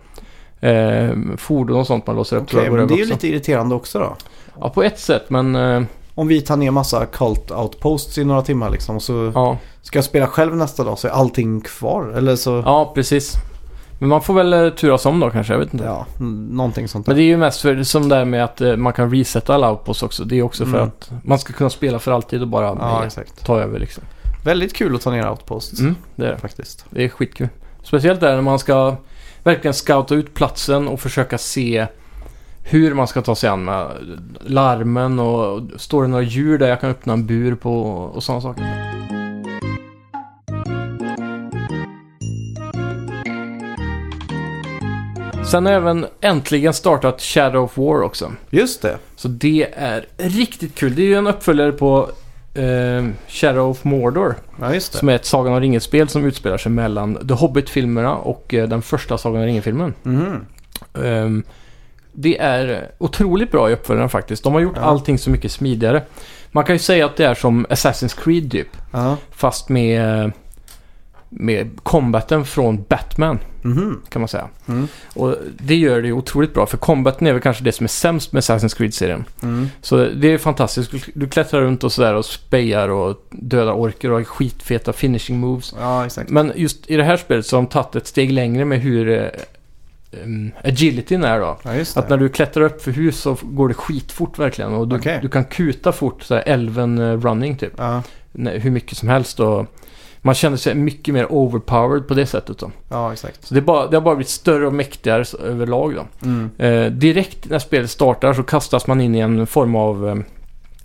Speaker 2: Eh, fordon och sånt man låser upp tror
Speaker 1: Okej,
Speaker 2: jag går
Speaker 1: men det
Speaker 2: över
Speaker 1: är ju
Speaker 2: också.
Speaker 1: lite irriterande också då.
Speaker 2: Ja, på ett sätt men eh,
Speaker 1: Om vi tar ner massa cult outposts i några timmar liksom och så
Speaker 2: ja,
Speaker 1: ska jag spela själv nästa dag så är allting kvar. Eller så...
Speaker 2: ja, precis. Men man får väl eh, turas om då kanske, jag vet inte.
Speaker 1: Ja, n- någonting sånt där.
Speaker 2: Men det är ju mest för, som det här med att eh, man kan resetta alla outposts också. Det är också för
Speaker 1: Mm.
Speaker 2: att man ska kunna spela för alltid och bara
Speaker 1: Ja,
Speaker 2: eh,
Speaker 1: exakt.
Speaker 2: ta över liksom.
Speaker 1: Väldigt kul att ta ner outposts
Speaker 2: Mm, det är det.
Speaker 1: faktiskt.
Speaker 2: Det är skitkul. Speciellt där när man ska verkligen scouta ut platsen och försöka se hur man ska ta sig an med larmen och står det några djur där jag kan öppna en bur på och sådana saker. Sen har jag även äntligen startat Shadow of War också.
Speaker 1: Just det.
Speaker 2: Så det är riktigt kul. Det är ju en uppföljare på eh, Shadow of Mordor.
Speaker 1: Ja, just det.
Speaker 2: Som är ett Sagan om ringen-spel som utspelar sig mellan The Hobbit-filmerna och eh, den första Sagan om ringen-filmen.
Speaker 1: Mhm.
Speaker 2: Ehm, det är otroligt bra i uppföljaren faktiskt. De har gjort
Speaker 1: Ja.
Speaker 2: allting så mycket smidigare. Man kan ju säga att det är som Assassin's Creed typ.
Speaker 1: Ja.
Speaker 2: Fast med, med combaten från Batman
Speaker 1: Mhm.
Speaker 2: kan man säga.
Speaker 1: Mm.
Speaker 2: Och det gör det ju otroligt bra. För combaten är väl kanske det som är sämst med Assassin's Creed-serien.
Speaker 1: Mm.
Speaker 2: Så det är fantastiskt. Du- Du klättrar runt och sådär och spejar och dödar orker och har skitfeta finishing moves.
Speaker 1: Ja, exakt.
Speaker 2: Men just i det här spelet så har de tagit ett steg längre med hur eh, em, agilityn är då.
Speaker 1: Ja, just det.
Speaker 2: Att när du klättrar upp för hus så går det skitfort verkligen. Och du,
Speaker 1: Okej.
Speaker 2: du kan kuta fort, så här elven eh, running typ.
Speaker 1: Ja.
Speaker 2: Nej, Hur mycket som helst och man känner sig mycket mer overpowered på det sättet då.
Speaker 1: ja, exakt.
Speaker 2: Så det, är bara, det har bara blivit större och mäktigare så- överlag då.
Speaker 1: Mm.
Speaker 2: Eh, direkt när spelet startar så kastas man in i en form av eh,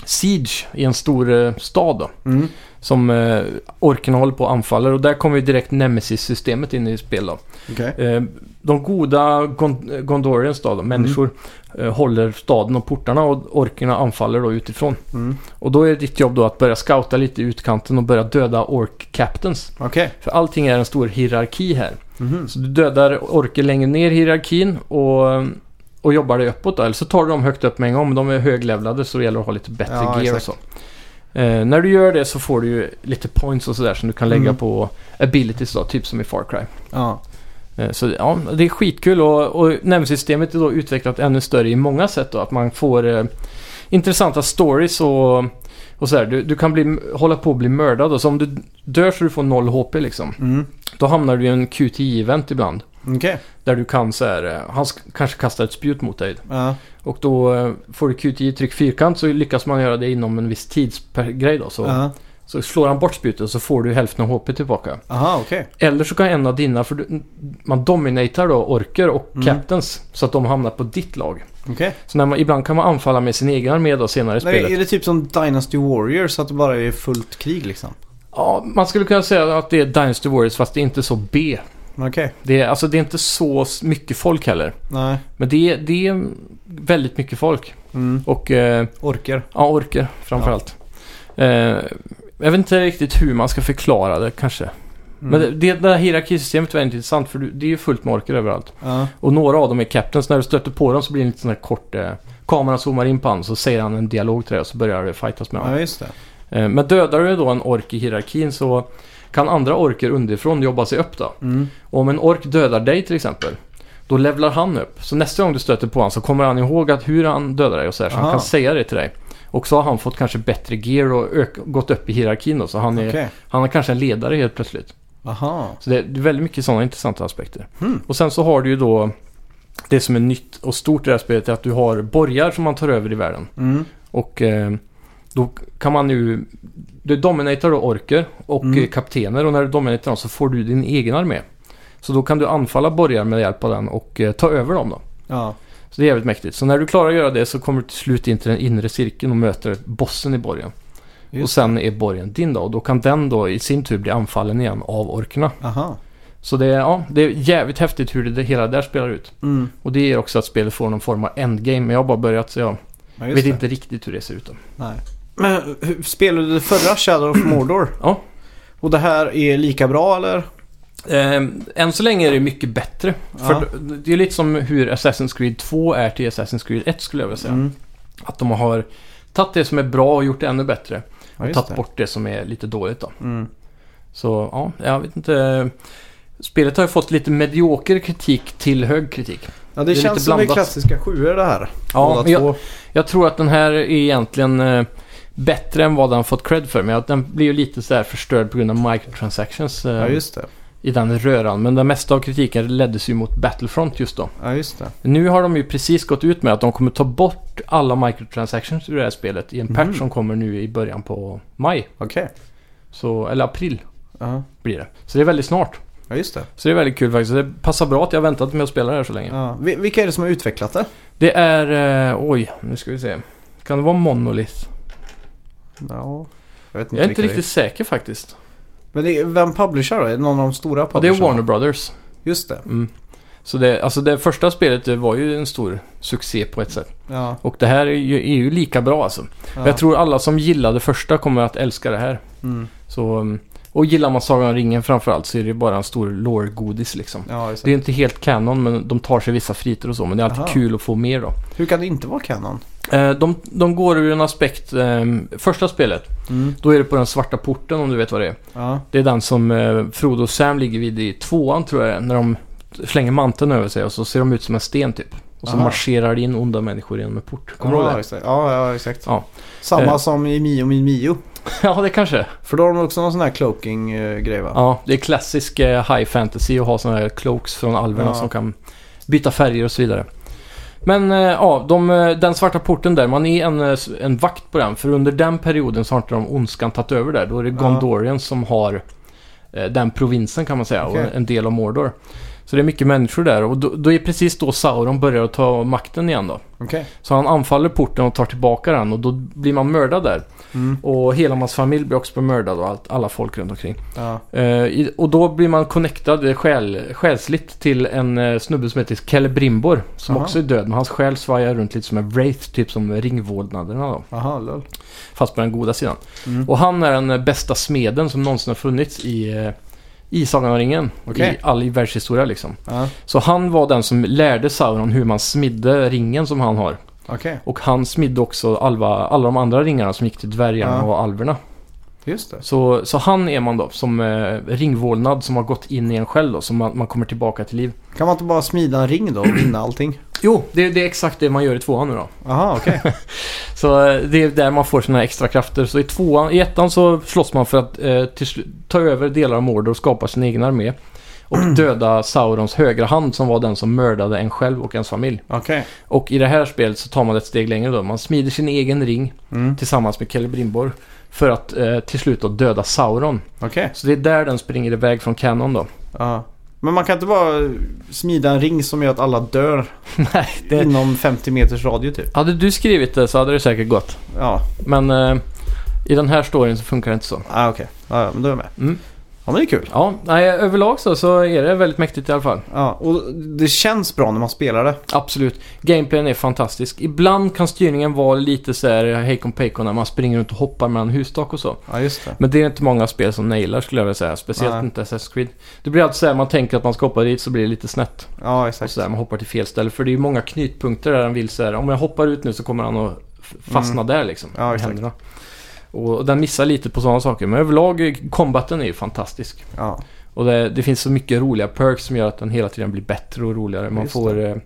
Speaker 2: siege i en stor eh, stad då.
Speaker 1: Mm.
Speaker 2: Som eh, orken håller på och anfaller och där kommer ju direkt Nemesis-systemet in i spel då.
Speaker 1: Okej.
Speaker 2: Eh, de goda Gon- Gondorians då, de människor, eh, håller staden och portarna och orkerna anfaller då utifrån.
Speaker 1: Mm.
Speaker 2: Och då är ditt jobb då att börja scouta lite i utkanten och börja döda ork-captains.
Speaker 1: Okej.
Speaker 2: För allting är en stor hierarki här.
Speaker 1: Mhm.
Speaker 2: Så du dödar orker längre ner i hierarkin och, och jobbar dig uppåt då. Eller så tar du dem högt upp med en gång. Men de är höglevlade så det gäller att ha lite bättre
Speaker 1: Ja,
Speaker 2: gear och
Speaker 1: exakt.
Speaker 2: så. Eh, när du gör det så får du ju lite points och sådär som du kan lägga
Speaker 1: Mm.
Speaker 2: på abilities då, typ som i Far Cry.
Speaker 1: Ja.
Speaker 2: Eh, Så ja, det är skitkul och, och nämnsystemet är då utvecklat ännu större i många sätt då. Att man får eh, intressanta stories och, och sådär. Du, du kan bli, hålla på att bli mördad och så om du dör så du får noll HP liksom.
Speaker 1: Mm.
Speaker 2: Då hamnar du i en QTE-event ibland.
Speaker 1: Okej.
Speaker 2: Där du kan så här, eh, han sk- kanske kastar ett spjut mot dig.
Speaker 1: Ja.
Speaker 2: Och då eh, får du QTI tryck fyrkant så lyckas man göra det inom en viss tidsgrej då. Så,
Speaker 1: Ja.
Speaker 2: så slår han bort spjutet så får du hälften av HP tillbaka.
Speaker 1: Aha, okej.
Speaker 2: Eller så kan en av dina, för du, man dominatar då orker och
Speaker 1: Mm.
Speaker 2: captains så att de hamnar på ditt lag.
Speaker 1: Okej.
Speaker 2: Så när man, ibland kan man anfalla med sin egen armé då senare i spelet.
Speaker 1: Nej, är det typ som Dynasty Warriors att det bara är fullt krig liksom?
Speaker 2: Ja, man skulle kunna säga att det är Dynasty Warriors fast det är inte så B.
Speaker 1: Okej.
Speaker 2: Det är, alltså det är inte så s- mycket folk heller.
Speaker 1: Nej.
Speaker 2: Men det är, det är väldigt mycket folk.
Speaker 1: Mm.
Speaker 2: Och eh,
Speaker 1: Orker.
Speaker 2: ja, orker framförallt. Eh, jag vet inte riktigt hur man ska förklara det kanske.
Speaker 1: Mm.
Speaker 2: Men det, det, det här hierarkisystemet är väldigt intressant för du- det är ju fullt med orker överallt.
Speaker 1: Ja.
Speaker 2: Och några av dem är captains. När du stöter på dem så blir det en liten sån här kort... Eh, kameran zoomar in på honom så säger han en dialog till dig och så börjar det fightas med honom.
Speaker 1: ja, just det.
Speaker 2: Eh, men dödar du då en ork i hierarkin så kan andra orker underifrån jobba sig upp då.
Speaker 1: Mm.
Speaker 2: Och om en ork dödar dig till exempel, då levlar han upp. Så nästa gång du stöter på honom så kommer han ihåg att hur han dödar dig och så här, så han
Speaker 1: Aha.
Speaker 2: kan säga det till dig. Och så har han fått kanske bättre gear och ök- gått upp i hierarkin då, så han är,
Speaker 1: Okej.
Speaker 2: han är kanske en ledare helt plötsligt.
Speaker 1: Aha.
Speaker 2: Så det är väldigt mycket sådana intressanta aspekter.
Speaker 1: Hmm.
Speaker 2: Och sen så har du ju då det som är nytt och stort i det här spelet är att du har borgar som man tar över i världen.
Speaker 1: Mm.
Speaker 2: Och eh, då kan man ju... Du dominatar då orker och
Speaker 1: Mm.
Speaker 2: eh, kaptener och när du dominatar dem så får du din egen armé. Så då kan du anfalla borgar med hjälp av den och eh, ta över dem då.
Speaker 1: Ja.
Speaker 2: Så det är jävligt mäktigt. Så när du klarar att göra det så kommer du till slut in till den inre cirkeln och möter bossen i borgen.
Speaker 1: Just
Speaker 2: och sen är borgen din då och då kan den då i sin tur bli anfallen igen av orkerna.
Speaker 1: Aha.
Speaker 2: Så det är, ja, det är jävligt häftigt hur det, det hela där spelar ut.
Speaker 1: Mm.
Speaker 2: Och det ger också att spelet får någon form av endgame. Men jag har bara börjat så jag
Speaker 1: Ja,
Speaker 2: vet
Speaker 1: just det.
Speaker 2: inte riktigt hur det ser ut. Då.
Speaker 1: Nej. Men hur- spelade du förra Shadow of Mordor?
Speaker 2: Ja.
Speaker 1: Och det här är lika bra eller?
Speaker 2: Ehm, än så länge är det mycket bättre.
Speaker 1: Ja.
Speaker 2: För det- det är lite som hur Assassin's Creed 2 är till Assassin's Creed 1 skulle jag vilja säga.
Speaker 1: Mm.
Speaker 2: Att de har tagit det som är bra och gjort det ännu bättre.
Speaker 1: Ja, just
Speaker 2: tagit
Speaker 1: det.
Speaker 2: bort det som är lite dåligt då.
Speaker 1: Mm.
Speaker 2: Så ja, jag vet inte. Spelet har ju fått lite medioker kritik till hög kritik.
Speaker 1: Ja, det,
Speaker 2: är lite
Speaker 1: känns som det är
Speaker 2: blandat.
Speaker 1: klassiska sjuor det här.
Speaker 2: Ja,
Speaker 1: Båda
Speaker 2: men jag,
Speaker 1: två.
Speaker 2: Jag tror att den här är egentligen eh, bättre än vad den fått cred för. Men att den blir ju lite så här förstörd på grund av microtransactions eh,
Speaker 1: Ja, just det.
Speaker 2: i den röran. Men den mesta av kritiken leddes ju mot Battlefront just då.
Speaker 1: Ja, just det.
Speaker 2: Nu har de ju precis gått ut med att de kommer ta bort alla microtransactions ur det här spelet i en patch
Speaker 1: Mhm.
Speaker 2: som kommer nu i början på maj.
Speaker 1: Okej.
Speaker 2: Så, eller april
Speaker 1: Ja.
Speaker 2: blir det. Så det är väldigt snart.
Speaker 1: Ja, just det.
Speaker 2: Så det är väldigt kul faktiskt. Det passar bra att jag har väntat med att spela det här så länge.
Speaker 1: Ja. Vi- Vilka är det som har utvecklat det?
Speaker 2: Det är... Eh, oj, nu ska vi se. Kan det vara Monolith?
Speaker 1: Ja. Jag vet inte,
Speaker 2: Jag är inte
Speaker 1: vilka det
Speaker 2: riktigt säker faktiskt.
Speaker 1: Men det är, vem publicerar då? Är det någon av de stora
Speaker 2: Ja, det är
Speaker 1: publisherna?
Speaker 2: Warner Brothers.
Speaker 1: Just det.
Speaker 2: Mm. Så det, alltså det första spelet det var ju en stor succé på ett sätt.
Speaker 1: Ja,
Speaker 2: Och det här är ju, är ju lika bra alltså.
Speaker 1: ja.
Speaker 2: Men Jag tror alla som gillade första kommer att älska det här.
Speaker 1: Mm.
Speaker 2: Så, mm, och gillar man Sagan om ringen framförallt så är det ju bara en stor lore-godis liksom.
Speaker 1: Ja, just
Speaker 2: Det är
Speaker 1: det.
Speaker 2: inte helt kanon men de tar sig vissa friter och så. Men det är alltid
Speaker 1: Aha.
Speaker 2: kul att få mer då.
Speaker 1: Hur kan det inte vara Canon?
Speaker 2: Eh, De, de går ur en aspekt, eh, första spelet,
Speaker 1: Mm.
Speaker 2: då är det på den svarta porten om du vet vad det är.
Speaker 1: Ja,
Speaker 2: Det är den som eh, Frodo och Sam ligger vid i tvåan tror jag när de slänger manteln över sig och så ser de ut som en sten typ. Och så
Speaker 1: Aha.
Speaker 2: marscherar det in onda människor genom en port. Kommer du
Speaker 1: ja,
Speaker 2: ihåg det?
Speaker 1: just det. Ja, ja, exakt.
Speaker 2: Ja.
Speaker 1: Samma
Speaker 2: Eh.
Speaker 1: som i Mio Min Mio.
Speaker 2: ja, det kanske.
Speaker 1: För då har de också någon sån här cloaking-grej va?
Speaker 2: Ja, det är klassisk eh, high fantasy att ha sådana här cloaks från alverna
Speaker 1: Ja.
Speaker 2: som kan byta färger och så vidare. Men eh, ja, de, eh, den svarta porten där, man är en, eh, s- en vakt på den. För under den perioden så har inte de ondskan tagit över där. Då är det
Speaker 1: Ja.
Speaker 2: Gondorian som har eh, den provinsen kan man säga
Speaker 1: Okej.
Speaker 2: och en del av Mordor. Så det är mycket människor där och då, då är precis då Sauron börjar att ta makten igen då.
Speaker 1: Okej.
Speaker 2: Så han anfaller porten och tar tillbaka den och då blir man mördad där.
Speaker 1: Mm.
Speaker 2: Och hela hans familj blir också mördad och allt, alla folk runt omkring.
Speaker 1: Ja.
Speaker 2: Eh, i- och då blir man connectad eh, själ, själsligt till en eh, snubbe som heter Celebrimbor. Som
Speaker 1: Aha.
Speaker 2: också är död, men hans själ svajar runt lite som en wraith, typ som ringvålnaderna då.
Speaker 1: Aha, lol.
Speaker 2: Fast på den goda sidan.
Speaker 1: Mm.
Speaker 2: Och han är den eh, bästa smeden som någonsin har funnits i, eh, i Sagan om ringen.
Speaker 1: Okej.
Speaker 2: I all i världshistoria liksom.
Speaker 1: Ja,
Speaker 2: Så han var den som lärde Sauron hur man smidde ringen som han har.
Speaker 1: okej.
Speaker 2: Och han smidde också alva, alla de andra ringarna som gick till dvärgarna
Speaker 1: Ja.
Speaker 2: och alverna.
Speaker 1: Just det.
Speaker 2: Så, så han är man då som eh, ringvålnad som har gått in i en själv då, som man, man kommer tillbaka till liv.
Speaker 1: Kan man inte bara smida en ring då och vinna allting?
Speaker 2: Jo, det, det är exakt det man gör i tvåan nu då.
Speaker 1: Aha, okej.
Speaker 2: Så eh, det är där man får sina extra krafter. Så i tvåan, i ettan så slåss man för att eh, till, slu- ta över delar av Mordor och skapa sin egen armé. Och döda Saurons högra hand som var den som mördade en själv och ens familj.
Speaker 1: Okej.
Speaker 2: Och i det här spelet så tar man ett steg längre då. Man smider sin egen ring
Speaker 1: Mm.
Speaker 2: tillsammans med Celebrimbor. För att eh, till slut då döda Sauron.
Speaker 1: Okej.
Speaker 2: Så det är där den springer iväg från Canon då.
Speaker 1: Ja. Men man kan inte bara smida en ring som gör att alla dör
Speaker 2: Nej, det...
Speaker 1: inom 50 meters radie typ?
Speaker 2: Hade du skrivit det så hade det säkert gått.
Speaker 1: Ja,
Speaker 2: Men eh, i den här storyn så funkar det inte så.
Speaker 1: ah, okej. Ja, ja, men då är jag med.
Speaker 2: Mm.
Speaker 1: Ja, men det är kul.
Speaker 2: Ja, nej, överlag så, så är det väldigt mäktigt i alla fall.
Speaker 1: Ja, och det känns bra när man spelar det.
Speaker 2: Absolut. Gameplayen är fantastisk. Ibland kan styrningen vara lite så här hejkon pejkon när man springer runt och hoppar mellan husstak och så.
Speaker 1: Ja, just det.
Speaker 2: Men det är inte många spel som nailar skulle jag vilja säga. Speciellt
Speaker 1: Nej.
Speaker 2: inte Assassin's Creed. Det blir alltid så här man tänker att man ska hoppa dit så blir det lite snett.
Speaker 1: Ja,
Speaker 2: Och
Speaker 1: exakt.
Speaker 2: så där, man hoppar till fel ställe. För det är ju många knytpunkter där han vill så här. Om jag hoppar ut nu så kommer han att f- fastna där liksom.
Speaker 1: Mm. Ja,
Speaker 2: med
Speaker 1: exakt.
Speaker 2: händerna. Och, och den missar lite på sådana saker. Men överlag, eh, combaten är ju fantastisk.
Speaker 1: Ja.
Speaker 2: Och det, det finns så mycket roliga perks som gör att den hela tiden blir bättre och roligare. Man
Speaker 1: Just
Speaker 2: får eh,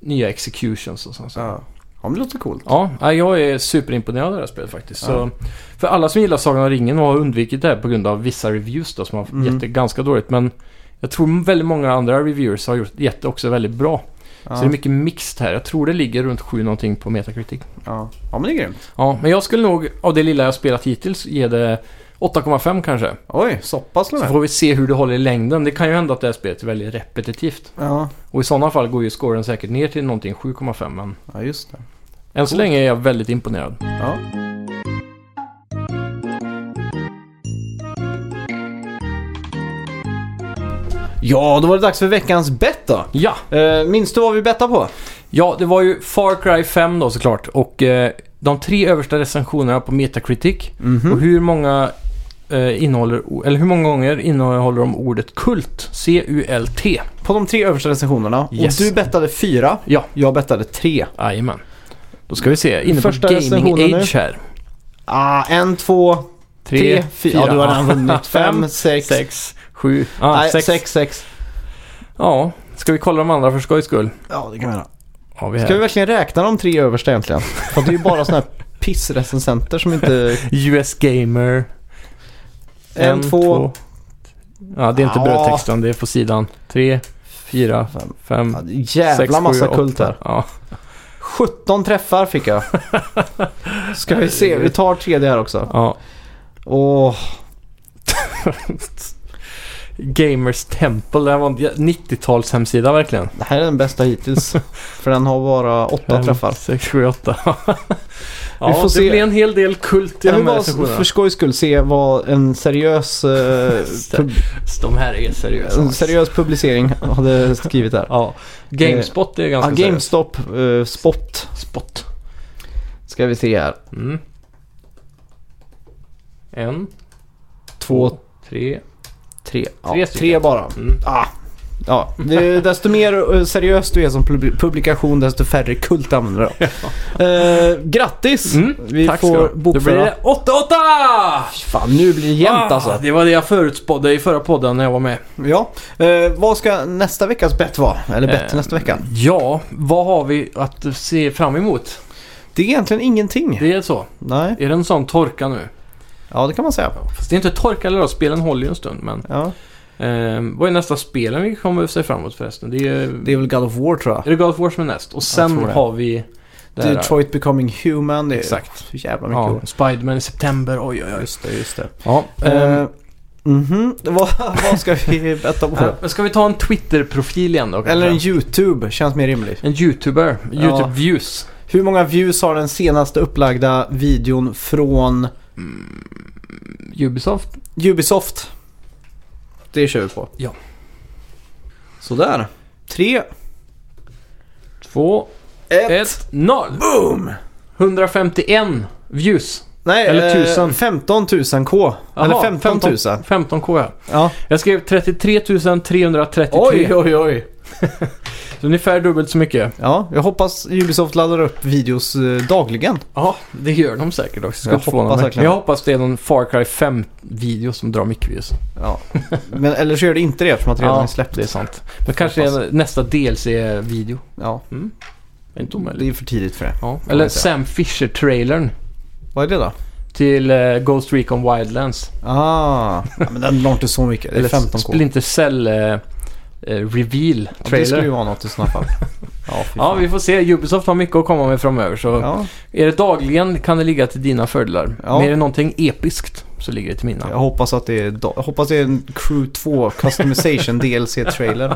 Speaker 2: nya executions och sånt. Så.
Speaker 1: ja. typ Ja, men det låter coolt.
Speaker 2: Ja, nej, jag är superimponerad av det här spelet faktiskt.
Speaker 1: Ja.
Speaker 2: Så, för alla som gillar Sagan om ringen har undvikit det här på grund av vissa reviews då, som har
Speaker 1: Mm.
Speaker 2: gett det ganska dåligt. Men jag tror väldigt många andra reviewers har gjort, gett det också väldigt bra.
Speaker 1: Ja.
Speaker 2: Så det är mycket mixed här. Jag tror det ligger runt 7 någonting på Metacritic.
Speaker 1: ja. ja, men det är grymt.
Speaker 2: Ja, men jag skulle nog av det lilla jag spelat hittills ge det 8,5 kanske.
Speaker 1: Oj, så pass
Speaker 2: Så
Speaker 1: länge.
Speaker 2: får vi se hur det håller i längden. Det kan ju hända att det här spelet är väldigt repetitivt.
Speaker 1: Ja.
Speaker 2: Och i sådana fall går ju scoren säkert ner till någonting 7,5 men
Speaker 1: ja, just det.
Speaker 2: än så
Speaker 1: Coolt.
Speaker 2: länge är jag väldigt imponerad.
Speaker 1: Ja. Ja, då var det dags för veckans bett då.
Speaker 2: Ja,
Speaker 1: Eh, minns du vad vi bettade på?
Speaker 2: ja det var ju Far Cry 5 då såklart. Och eh, de tre översta recensionerna på Metacritic.
Speaker 1: Mm. Mhm.
Speaker 2: Och hur många eh, innehåller, o- eller hur många gånger innehåller de ordet kult? C-U-L-T.
Speaker 1: På de tre översta recensionerna.
Speaker 2: Yes.
Speaker 1: Och du bettade fyra.
Speaker 2: Ja.
Speaker 1: Jag bettade tre.
Speaker 2: Jajamän. Då ska vi se, inne
Speaker 1: Första
Speaker 2: på
Speaker 1: recensionen
Speaker 2: Gaming Age här.
Speaker 1: Ah, en, två, tre, fyra. Ja, du har redan vunnit. Fem, sex,
Speaker 2: sex, sju, ah,
Speaker 1: nej,
Speaker 2: sex.
Speaker 1: sex, sex.
Speaker 2: Ja, ska vi kolla de andra för skojs skull?
Speaker 1: Ja, det kan vi göra.
Speaker 2: Har vi här.
Speaker 1: Ska vi verkligen räkna de tre översta egentligen? För det är ju bara såna här pissrecensenter som inte...
Speaker 2: US Gamer.
Speaker 1: En, två,
Speaker 2: Ja, det är inte
Speaker 1: Ja.
Speaker 2: brödtexten, det är på sidan. Tre, fyra,
Speaker 1: Fem.
Speaker 2: fem,
Speaker 1: Ja, det är
Speaker 2: sex,
Speaker 1: jävla
Speaker 2: sju,
Speaker 1: massa
Speaker 2: åtta.
Speaker 1: kult här.
Speaker 2: Ja.
Speaker 1: 17 träffar fick jag. Ska vi se, vi tar tredje här också.
Speaker 2: ja.
Speaker 1: Åh,
Speaker 2: Gamers Temple, det här var en 90-tals hemsida verkligen.
Speaker 1: det här är den bästa hittills. För den har bara åtta
Speaker 2: Fem,
Speaker 1: träffar.
Speaker 2: sex, sju, åtta. Ja,
Speaker 1: Vi får
Speaker 2: det
Speaker 1: se.
Speaker 2: blir en hel del kult i
Speaker 1: Jag
Speaker 2: de
Speaker 1: vill
Speaker 2: här
Speaker 1: bara
Speaker 2: sessionerna.
Speaker 1: alltså, för skojs skull se vad en seriös, eh, pub
Speaker 2: De här är seriösa.
Speaker 1: en seriös publicering hade skrivit där.
Speaker 2: Ja, GameSpot är
Speaker 1: Ja,
Speaker 2: ganska seriöst.
Speaker 1: GameStop, eh, Spot
Speaker 2: Spot.
Speaker 1: ska vi se här.
Speaker 2: Mm. En,
Speaker 1: Två,
Speaker 2: tre.
Speaker 1: tre. Ja, tre,
Speaker 2: Tre stycken.
Speaker 1: bara.
Speaker 2: Mm.
Speaker 1: Ah. Ja, det, desto mer eh, seriös du är som pub- publikation desto färre kult använder du. Eh, grattis!
Speaker 2: Mm,
Speaker 1: Vi
Speaker 2: Tack ska du
Speaker 1: får
Speaker 2: ha. Då blir
Speaker 1: bokföra.
Speaker 2: det 8-8!
Speaker 1: Fan, nu blir det jämnt
Speaker 2: Ah,
Speaker 1: alltså.
Speaker 2: Det var det jag förutspådde i förra podden när jag var med.
Speaker 1: Ja. Eh, vad ska nästa veckas bett vara? Eller bett
Speaker 2: Eh,
Speaker 1: nästa vecka?
Speaker 2: Ja, vad har vi att se fram emot?
Speaker 1: Det är egentligen ingenting.
Speaker 2: Det är så.
Speaker 1: Nej.
Speaker 2: Är det en sån torka nu?
Speaker 1: Ja, det kan man säga.
Speaker 2: Fast det är inte torka eller då, spelen håller ju en stund. Men
Speaker 1: Ja.
Speaker 2: eh, vad är nästa spelen vi kommer se framåt förresten? Det är,
Speaker 1: Det är väl God of War tror jag.
Speaker 2: är det God of War som är näst? Och sen
Speaker 1: tror det.
Speaker 2: har vi... det här-
Speaker 1: Detroit Becoming Human. Det är
Speaker 2: Exakt.
Speaker 1: så jävla mycket
Speaker 2: Ja,
Speaker 1: roligt.
Speaker 2: Spiderman i september, oj oj
Speaker 1: Ja,
Speaker 2: oj.
Speaker 1: just det, just det.
Speaker 2: Ja, ehm,
Speaker 1: Eh, mhm, vad, vad ska vi betta på?
Speaker 2: äh, men ska vi ta en Twitter-profil igen då? kanske?
Speaker 1: Eller en YouTube, känns mer rimligt.
Speaker 2: en YouTuber, YouTube-views.
Speaker 1: Hur många views har den senaste upplagda videon från
Speaker 2: Ubisoft?
Speaker 1: Ubisoft? Det kör vi på.
Speaker 2: Ja.
Speaker 1: Sådär. Tre,
Speaker 2: Två,
Speaker 1: ett.
Speaker 2: ett, noll! Boom! 151 views.
Speaker 1: Nej,
Speaker 2: Eller
Speaker 1: eh,
Speaker 2: tusen.
Speaker 1: 15 000 K. Eller 15 000.
Speaker 2: 15k ja.
Speaker 1: Ja.
Speaker 2: Jag skrev 33 333.
Speaker 1: oj, oj.
Speaker 2: Så ungefär dubbelt så mycket.
Speaker 1: Ja, jag hoppas Ubisoft laddar upp videos eh, dagligen.
Speaker 2: Ja, det gör de säkert också. Ska
Speaker 1: Jag
Speaker 2: inte förvåna
Speaker 1: hoppas
Speaker 2: mig.
Speaker 1: verkligen.
Speaker 2: Jag hoppas det är någon Far Cry 5-video som drar mycket views.
Speaker 1: Ja. Men, eller så gör det inte det eftersom att det redan är släppt.
Speaker 2: det är sant. Men kanske det är nästa DLC-video.
Speaker 1: Ja,
Speaker 2: Inte
Speaker 1: det
Speaker 2: omöjligt.
Speaker 1: är för tidigt för det.
Speaker 2: Ja.
Speaker 1: kan
Speaker 2: Eller
Speaker 1: man säga.
Speaker 2: Sam Fisher-trailern
Speaker 1: Vad är det då?
Speaker 2: till eh, Ghost Recon Wildlands.
Speaker 1: Ah, ja, men den når inte så mycket. Det är
Speaker 2: Eller
Speaker 1: 15K.
Speaker 2: Splinter Cell eh, eh,
Speaker 1: Det skulle ju
Speaker 2: Reveal-trailer.
Speaker 1: vara något i sådana fall. Ja, fy
Speaker 2: Ja,
Speaker 1: fan.
Speaker 2: vi får se. Ubisoft har mycket att komma med framöver. Så
Speaker 1: ja,
Speaker 2: Är det dagligen kan det ligga till dina fördelar.
Speaker 1: Ja.
Speaker 2: Men är det någonting episkt så ligger det till mina.
Speaker 1: jag hoppas att det är, da- jag hoppas det är en Crew 2 Customization DLC-trailer.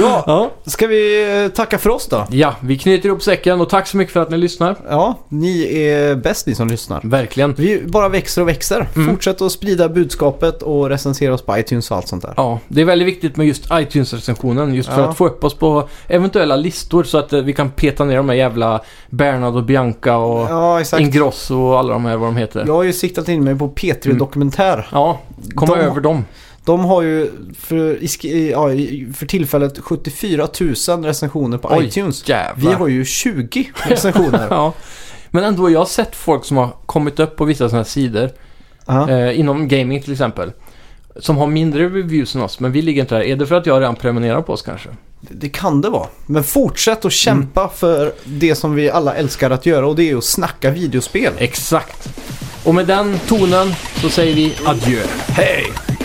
Speaker 1: Ja,
Speaker 2: Ja.
Speaker 1: ska vi eh, tacka för oss då?
Speaker 2: Ja, vi knyter ihop säcken och tack så mycket för att ni lyssnar.
Speaker 1: Ja, ni är bäst ni som lyssnar.
Speaker 2: Verkligen.
Speaker 1: Vi bara växer och växer. Fortsätt att sprida budskapet och recensera oss på iTunes och allt sånt där.
Speaker 2: Ja, det är väldigt viktigt med just iTunes-recensionen. Just för
Speaker 1: Ja.
Speaker 2: att få upp oss på eventuella listor så att eh, vi kan peta ner de här jävla Bernard och Bianca och
Speaker 1: Ja, exakt.
Speaker 2: Ingrosso och alla de här vad de heter.
Speaker 1: Jag har ju siktat in mig på P3 Dokumentär.
Speaker 2: Ja, komma
Speaker 1: De-
Speaker 2: över dem.
Speaker 1: De har ju för, i sk- i- ja, i- för tillfället 74 000 recensioner på
Speaker 2: Oj,
Speaker 1: iTunes. Vi
Speaker 2: Jävlar.
Speaker 1: har ju 20 recensioner.
Speaker 2: Ja. Men ändå, jag har sett folk som har kommit upp på vissa sådana här sidor.
Speaker 1: Ja.
Speaker 2: Eh, inom gaming till exempel. Som har mindre reviews än oss, men vi ligger inte där. Är det för att jag redan prenumererar på oss kanske?
Speaker 1: Det- Det kan det vara. Men fortsätt att kämpa för det som vi alla älskar att göra och det är att snacka videospel.
Speaker 2: Exakt. Och med den tonen så säger vi adjö. Hej!